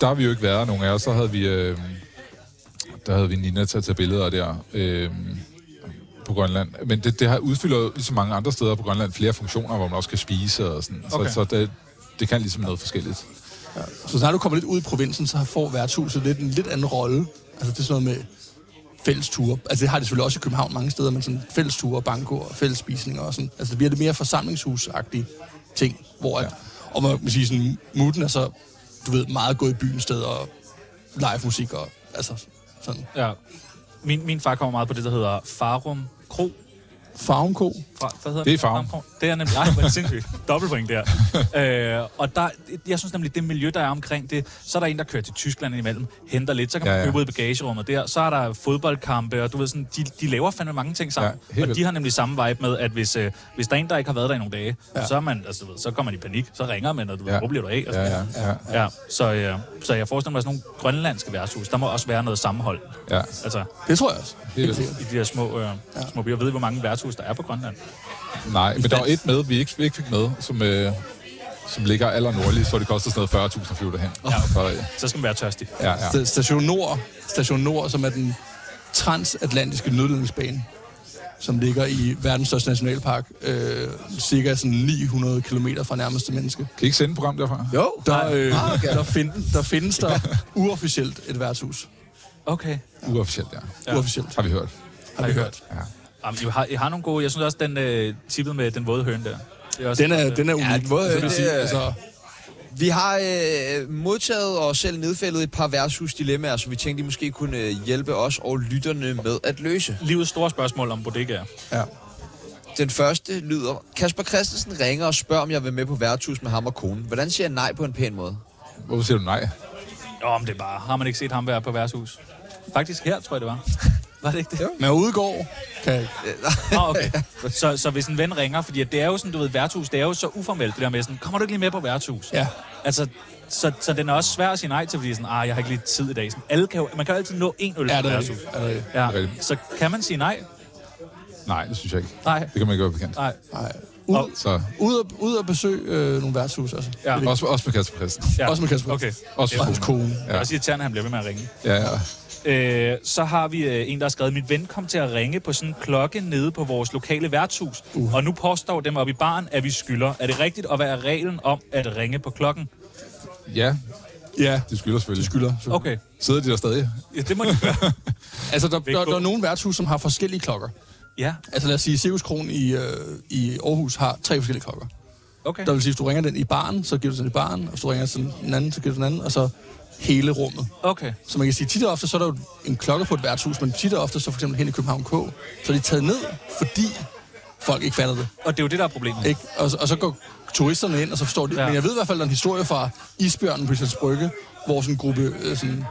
der har vi jo ikke været nogen af os. Så havde vi, øh, der havde vi Nina til at tage billeder der øh, på Grønland. Men det, det har udfylder jo, ligesom mange andre steder på Grønland flere funktioner, hvor man også kan spise og sådan. Okay. Okay. Så, så det, det kan ligesom noget forskelligt. Så snart du kommer lidt ud i provinsen, så får værtshuset lidt en lidt anden rolle. Altså det er sådan noget med fælles ture. Altså det har det selvfølgelig også i København mange steder, men sådan fælles ture, banko og fælles spisninger og sådan. Altså det bliver lidt mere forsamlingshusagtige ting, hvor at, ja. og man kan sige sådan, muten er så, du ved, meget gået i byen steder og live musik og altså sådan. Ja. Min, min far kommer meget på det, der hedder Farum Kro. Farumko, Fra, hvad hedder Det er Farum. Kro. Det er nemlig, ej, hvor er det [LAUGHS] sindssygt. Dobbeltpoint der. øh, og der, jeg synes nemlig, det miljø, der er omkring det, så er der en, der kører til Tyskland imellem, henter lidt, så kan man Ja, ja, ja. ja. købe ud i bagagerummet der, så er der fodboldkampe, og du ved sådan, de, de laver fandme mange ting sammen. Ja, helt og de vildt. har nemlig samme vibe med, at hvis, øh, hvis der er en, der ikke har været der i nogle dage, ja. så, er man, altså, du ved, så kommer man i panik, så ringer man, og du ved, Ja. hvor bliver du af? Og Ja, sådan ja, ja. Ja, så, øh, så jeg forestiller mig sådan nogle grønlandske værtshus. Der må også være noget sammenhold. ja. Altså, det tror jeg også. Helt vildt. i de der små, øh, små byer. Ved I, hvor mange værtshus der er på Grønland? Nej, men der var fandt- et med, vi ikke, vi ikke fik med, som, øh, som ligger aller nordligst, hvor det koster sådan noget 40.000 at flyve derhen. Ja. Så skal man være tørstig. Ja, ja. Sta- Station Nord, Station Nord, som er den transatlantiske nødledningsbane, som ligger i verdens største nationalpark, øh, cirka sådan 900 km fra nærmeste menneske. Kan I ikke sende et program derfra? Jo, der, øh, der, find, der findes der uofficielt et værtshus. Okay. Uofficielt, ja. Ja. Uofficielt, Har vi hørt. har vi hørt. Ja. Jamen, I, har, I har nogle gode... Jeg synes også, den øh, tippet med den våde høne der. Det er også, Den er, den er unik. den måde, det vil det sige, er- altså, Vi har øh, modtaget og selv nedfældet et par værtshusdilemmaer, som vi tænkte, I måske kunne øh, hjælpe os og lytterne med at løse. Livets store spørgsmål om bodegaer. ja. Den første lyder, Kasper Christensen ringer og spørger, om jeg vil med på værtshus med ham og konen. Hvordan siger jeg nej på en pæn måde? Hvorfor siger du nej? Nå, men det er bare... Har man ikke set ham være på værtshus? Faktisk her, tror jeg, det [LAUGHS] var. Var det ikke det? Men udgår kan Nå, okay. Så, så hvis en ven ringer, fordi at det er jo sådan, du ved, værtshus, det er jo så uformelt, det der med sådan, kommer du ikke lige med på værtshus? Ja. Altså, så, så den er også svær at sige nej til, fordi sådan, ah, jeg har ikke lige tid i dag. Sådan, alle kan jo, man kan jo altid nå en øl er på det værtshus. rigtigt. Er det rigtigt. Ja, Rigtigt. så kan man sige nej? Nej, det synes jeg ikke. Nej. Det kan man ikke være bekendt. Nej. Nej. Og- Ud, Så ud, at, ud at besøge øh, nogle værtshus, altså. Ja. også, også med Kasper Christen. Ja. Også med Kasper. Okay. Også Og hans med kone. Det er også irriterende, at han bliver ved med at ringe. Ja, ja. Øh, så har vi øh, en, der har skrevet, min ven kom til at ringe på sådan en klokke nede på vores lokale værtshus, uh. og nu påstår dem oppe i baren, at vi skylder. Er det rigtigt, og hvad er reglen om at ringe på klokken? Ja, Ja, de skylder selvfølgelig. det skylder. Så. Okay, Sidder de der stadig? ja, det må de [LAUGHS] gøre. Altså, der, Væk der, på. der er nogle værtshus, som har forskellige klokker. ja, Altså lad os sige, Cirkus Kron i, øh, i Aarhus har tre forskellige klokker. okay. Der vil sige, hvis du ringer den i baren, så giver du den i baren, og hvis du ringer til den anden, så giver du den anden, og så hele rummet. Okay, Så man kan sige, tit og ofte, så er der jo en klokke på et værtshus, men tit og ofte, så for eksempel hen i København K, så er de taget ned, fordi folk ikke fatter det. og det er jo det, der er problemet. Ikke? Og, og så går turisterne ind, og så forstår de. Ja. Ja. Men jeg ved i hvert fald, der er en historie fra Isbjørnen på Islands Brygge, hvor sådan en gruppe øh, sådan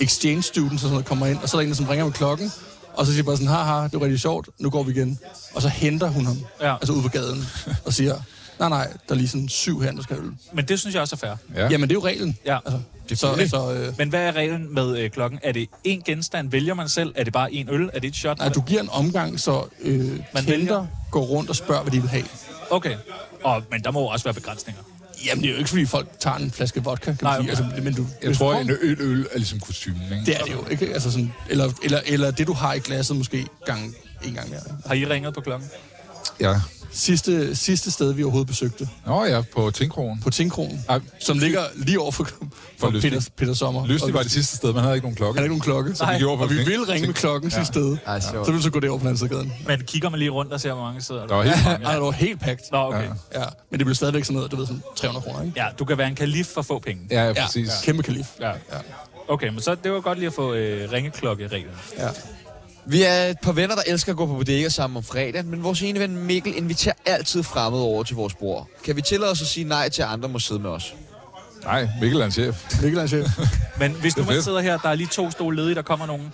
exchange students og sådan noget kommer ind, og så er der en, der sådan ringer med klokken, og så siger de bare sådan, haha, det var rigtig sjovt, nu går vi igen. Og så henter hun ham, Ja. ja. altså ud på gaden, og siger, nej, nej, der er lige sådan syv her, der skal øl. Men det synes jeg også er fair. Ja. Ja. Jamen, det er jo reglen. Ja. Altså, så, så [LAUGHS] øh, Men hvad er reglen med øh, klokken? Er det én genstand? Vælger man selv? Er det bare én øl? Er det et shot? nej, du giver en omgang, så øh, vælger. kender går rundt og spørger, hvad de vil have. Okay. Og, men der må jo også være begrænsninger. Jamen, det er jo ikke, fordi folk tager en flaske vodka, kan Nej, man sige. okay. Altså, men du, Jeg hvis du tror, får- en øl, øl er ligesom kostymen, ikke? Det er det jo, ikke? Altså sådan, eller, eller, eller det, du har i glasset måske gang, en gang mere. Har I ringet på klokken? Ja. Sidste, sidste sted, vi overhovedet besøgte, Nå ja, på Tinkrogen. på Tingkronen, Ej, som ligger lige over for, for Lystig. Peter, Peter Sommer. Løsning Og- var det sidste sted, man havde ikke nogen klokke. Han har ikke nogen klokke, så Nej. vi, gjorde, og vi Okay. ville ringe med klokken ja. sidste sted. Ej, sjovt. så ville du så gå derover på den anden side af gaden. Men kigger man lige rundt og ser, hvor mange sidder Der der? var helt mange. Ej, det var helt pakket. Nå, okay. Ja, men det blev stadigvæk sådan noget, du ved, sådan 300 kroner, ikke? Ja, du kan være en kalif for få penge. Ja, ja, præcis. Kæmpe kalif. Ja. Okay, men så det var godt lige at få øh, ringeklokke-reglen. Ja. Vi er et par venner, der elsker at gå på bodega sammen om fredagen, men vores ene ven Mikkel inviterer altid fremmede over til vores bord. Kan vi tillade os at sige nej til, at andre må sidde med os? Nej, Mikkel er en chef. Mikkel er en chef. Men hvis nu Det er man fedt. sidder her, der er lige to stole ledige, der kommer nogen.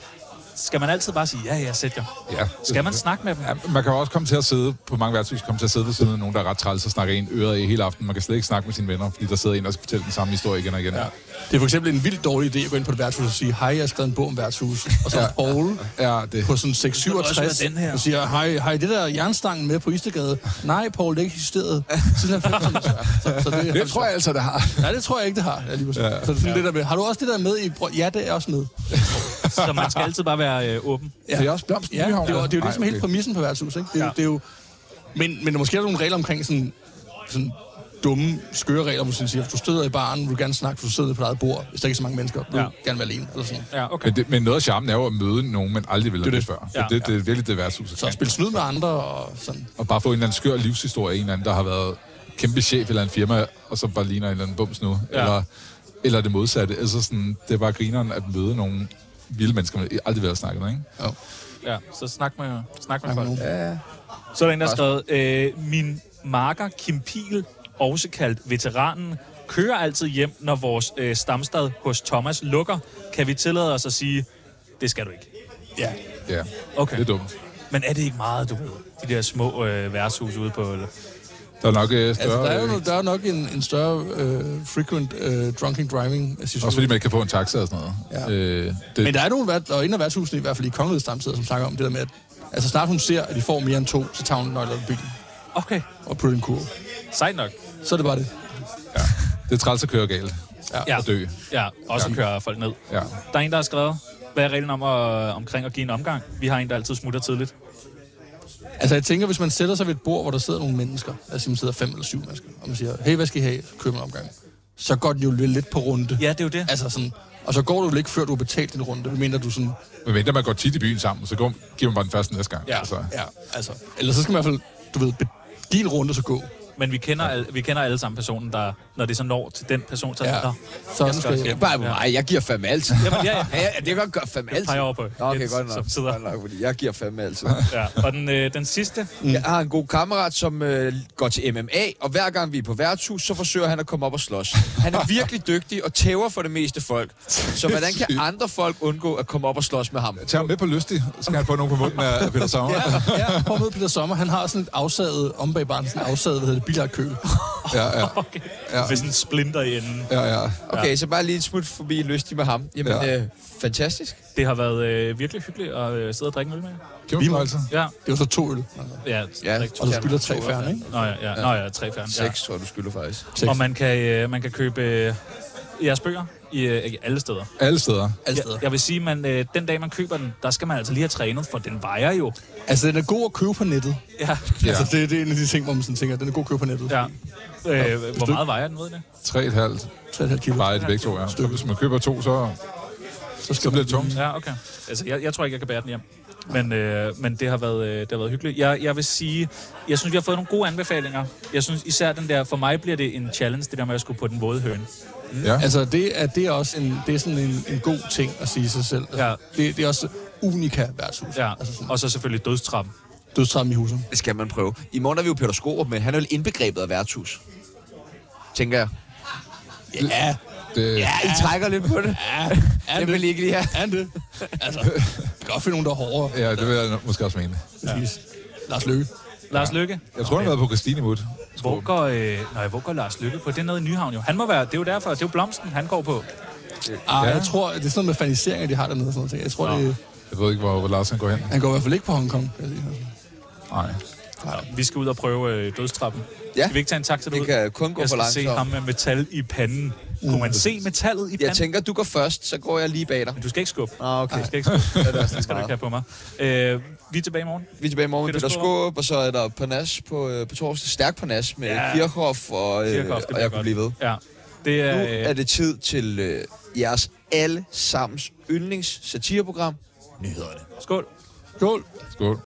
skal man altid bare sige, ja, ja, sæt jer. Ja. Skal man snakke med dem? Ja, man kan jo også komme til at sidde, på mange værtshus, komme til at sidde ved siden af nogen, der er ret træls og snakker en øret i hele aften. Man kan slet ikke snakke med sine venner, fordi der sidder en, der skal fortælle den samme historie igen og igen. Ja. Det er for eksempel en vildt dårlig idé at gå ind på et værtshus og sige, hej, jeg har skrevet en bog om værtshus. Og så er Paul Ja, det. på sådan også være 667 den her. og siger, hej, hej, det der jernstangen med på Istegade. Nej, Paul, det er ikke [LAUGHS] eksisteret. Siden 90'erne. Så, så det, Det tror jeg altså, der har. Nej, det tror jeg ikke, det har. Ja, lige præcis. Så det er sådan det der med, har du også det der med i... Bro- Ja, det er også med. Så man skal altid bare være øh, åben. Ja. Det er også blomsten, Ja, det er jo, det er jo Ej, det, som er hele okay. præmissen på værtshus, ikke? Det Ja. er, ja. det er jo, men, men måske er der nogle regler omkring sådan, sådan dumme, skøre regler, hvor man siger, hvis du støder i baren, vil du gerne snakke, for du sidder på dit eget bord, hvis der ikke er så mange mennesker, vil Ja. ja. du gerne være alene, eller sådan. Ja, okay. Men, det, men noget af charmen er jo at møde nogen, man aldrig ville have mødt før. Ja. Ja, det, det er virkelig det værtshus. Så at spille snyd med andre, og sådan. Og bare få en eller anden skør livshistorie af en eller anden, der har været kæmpe chef eller en firma, og så bare ligner en eller anden bums nu. Ja. Ja. Eller, eller det modsatte. Altså sådan, det er bare grineren at møde nogle vilde mennesker, man aldrig vil have snakket med, ikke? Ja, så snak med, snak med Snak med folk. Ja. Så er der en, der har skrevet, øh, min marker Kim Piel, også kaldt veteranen, kører altid hjem, når vores øh, stamstad hos Thomas lukker. Kan vi tillade os at sige, det skal du ikke. Ja. Ja, Okay. det er dumt. Men er det ikke meget, du ved? De der små øh, værtshus ude på... Der er nok øh, større... Altså, der er jo øh, der er nok en, en større øh, frequent øh, drunken driving situation. Også fordi man ikke kan få en taxa og sådan noget. Ja. Øh, det, Men der er nogle vært, og en af værtshusene, i hvert fald i Kongeriget Stamsteder, som snakker om det der med, at altså, snart hun ser, at de får mere end to, så tager hun nøglerne i bilen Okay, og putter en kurve. sejt nok. Så er det bare det. det er træls at køre galt. Ja, Og dø. ja også ja. kører folk ned. Ja. Der er en, der har skrevet, hvad er reglen om at, omkring at give en omgang? Vi har en, der altid smutter tidligt. Altså, jeg tænker, hvis man sætter sig ved et bord, hvor der sidder nogle mennesker, altså man sidder fem eller syv mennesker, og man siger, hey, hvad skal I have? Køb en omgang. Så går den jo lidt på runde. Ja, det er jo det. Altså sådan, og så går du vel ikke, før du har betalt din runde. Det mener du sådan, Men mindre man går tit i byen sammen, så går, giver man bare den første næste gang. ja, altså. ja, altså. Eller så skal man i hvert fald, du ved, be- give en runde, så gå. Men vi kender, al- vi kender alle sammen personen, der, når det så når til den person, så Ja. ja. Så jeg skal, også jeg, Bare, nej, jeg giver fandme altid. Jamen, ja, ja. Ja, ja, det kan jeg godt gøre fandme altid. peger over på Nå, okay, Jens, godt nok. som sidder. Godt nok, fordi jeg giver fandme altid. Ja. Og den, øh, den sidste, Jeg har en god kammerat, som øh, går til MMA, og hver gang vi er på værtshus, så forsøger han at komme op og slås. Han er virkelig dygtig og tæver for det meste folk. Så hvordan kan andre folk undgå at komme op og slås med ham? Tag ham med på lystig, så skal han få nogen på munden af Peter Sommer. ja. [LAUGHS] ja, prøv at møde Peter Sommer. Han har sådan et afsaget, om bag barn, sådan et afsaget, hvad hedder det, billardkøl. ja, ja, okay, ja. med sådan en splinter i enden. ja, ja. Okay, så bare lige et smut forbi en lystig med ham. Jamen, Ja. ja. øh, fantastisk. Det har været øh, virkelig hyggeligt at øh, sidde og drikke en øl med. jer. Kæmpe fornøjelse. Ja, Det er jo så to øl. Altså. ja, Ja, drikke to. Og du spiller tre færre, ikke? Nå ja, ja, nå ja, tre fjern. Ja. Seks, tror jeg, du skylder faktisk. Seks. Og man kan, øh, man kan købe øh, jeres bøger i øh, ikke alle steder. Alle steder. Alle Jeg, steder. jeg vil sige, man øh, den dag, man køber den, der skal man altså lige have trænet, for den vejer jo. Altså, den er god at købe på nettet. Ja, Ja. Altså, det, det er en af de ting, hvor man sådan tænker, den er god at købe på [LAUGHS] nettet. ja. Øh, hvor meget vejer den, ved I det? 3,5 3,5 kilo. bare i det begge to, ja. Så hvis man køber to, så, så, så bliver det tungt. Ja, okay. Altså, jeg, jeg tror ikke, jeg kan bære den hjem. Men, øh, men det, har været, øh, det har været hyggeligt. Jeg, jeg vil sige, jeg synes, vi har fået nogle gode anbefalinger. Jeg synes især den der, for mig bliver det en challenge, det der med at skulle på den våde høne. Ja. Altså, det er, det er også en, det er sådan en, en god ting at sige sig selv. Altså, Ja. Det, det er også unika værtshus. Ja, Altså, sådan, og så selvfølgelig dødstrappen. dødstræmme i huset. Det skal man prøve. I morgen er vi jo Peter Skorup, men han er jo indbegrebet af værtshus. Tænker jeg. Ja, Det, ja. Ja, I trækker lidt på det. er Jeg det, vil I ikke lige have. [LAUGHS] er det. Altså, jeg kan godt finde nogen, der er hårdere. ja, det vil jeg nok- måske også mene. Præcis. Lars Løkke. Lars Lykke. Jeg tror, han har været på Christine Mut. Hvor går, øh, nej, hvor går Lars Lykke på? Det er nede i Nyhavn jo. Han må være, det er jo derfor, det er jo blomsten, han går på. Ah, jeg tror, det er sådan noget med faniseringer, de har dernede. og Sådan noget. Jeg tror, det, Jeg ved ikke, hvor, hvor Lars han går hen. han går i hvert fald ikke på Hongkong. kan jeg sige. Nej. Vi skal ud og prøve øh, dødstrappen. Ja. Skal vi ikke tage en taxa derud? Det kan kun gå jeg for skal se ham langsomt. Mm. med metal i panden. Kunne man se metallet i Jeg panden? tænker, du går først, så går jeg lige bag dig. Men du skal ikke skubbe. Ah, okay. Du skal ikke skubbe. [LAUGHS] det, det skal du ikke have på mig. Øh, vi er tilbage i morgen. Vi er tilbage i morgen med Peter Peter Skåb, og så er der Parnas på, øh, på torsdag. Stærk Parnas med Ja. ja. Kirchhoff, og, øh, Kirchhoff, det og bliver jeg kunne godt. blive ved. Ja. Det Nu er, er øh, det tid til øh, jeres allesammens yndlings satireprogram, Nyhederne. skål. Skål. Skål.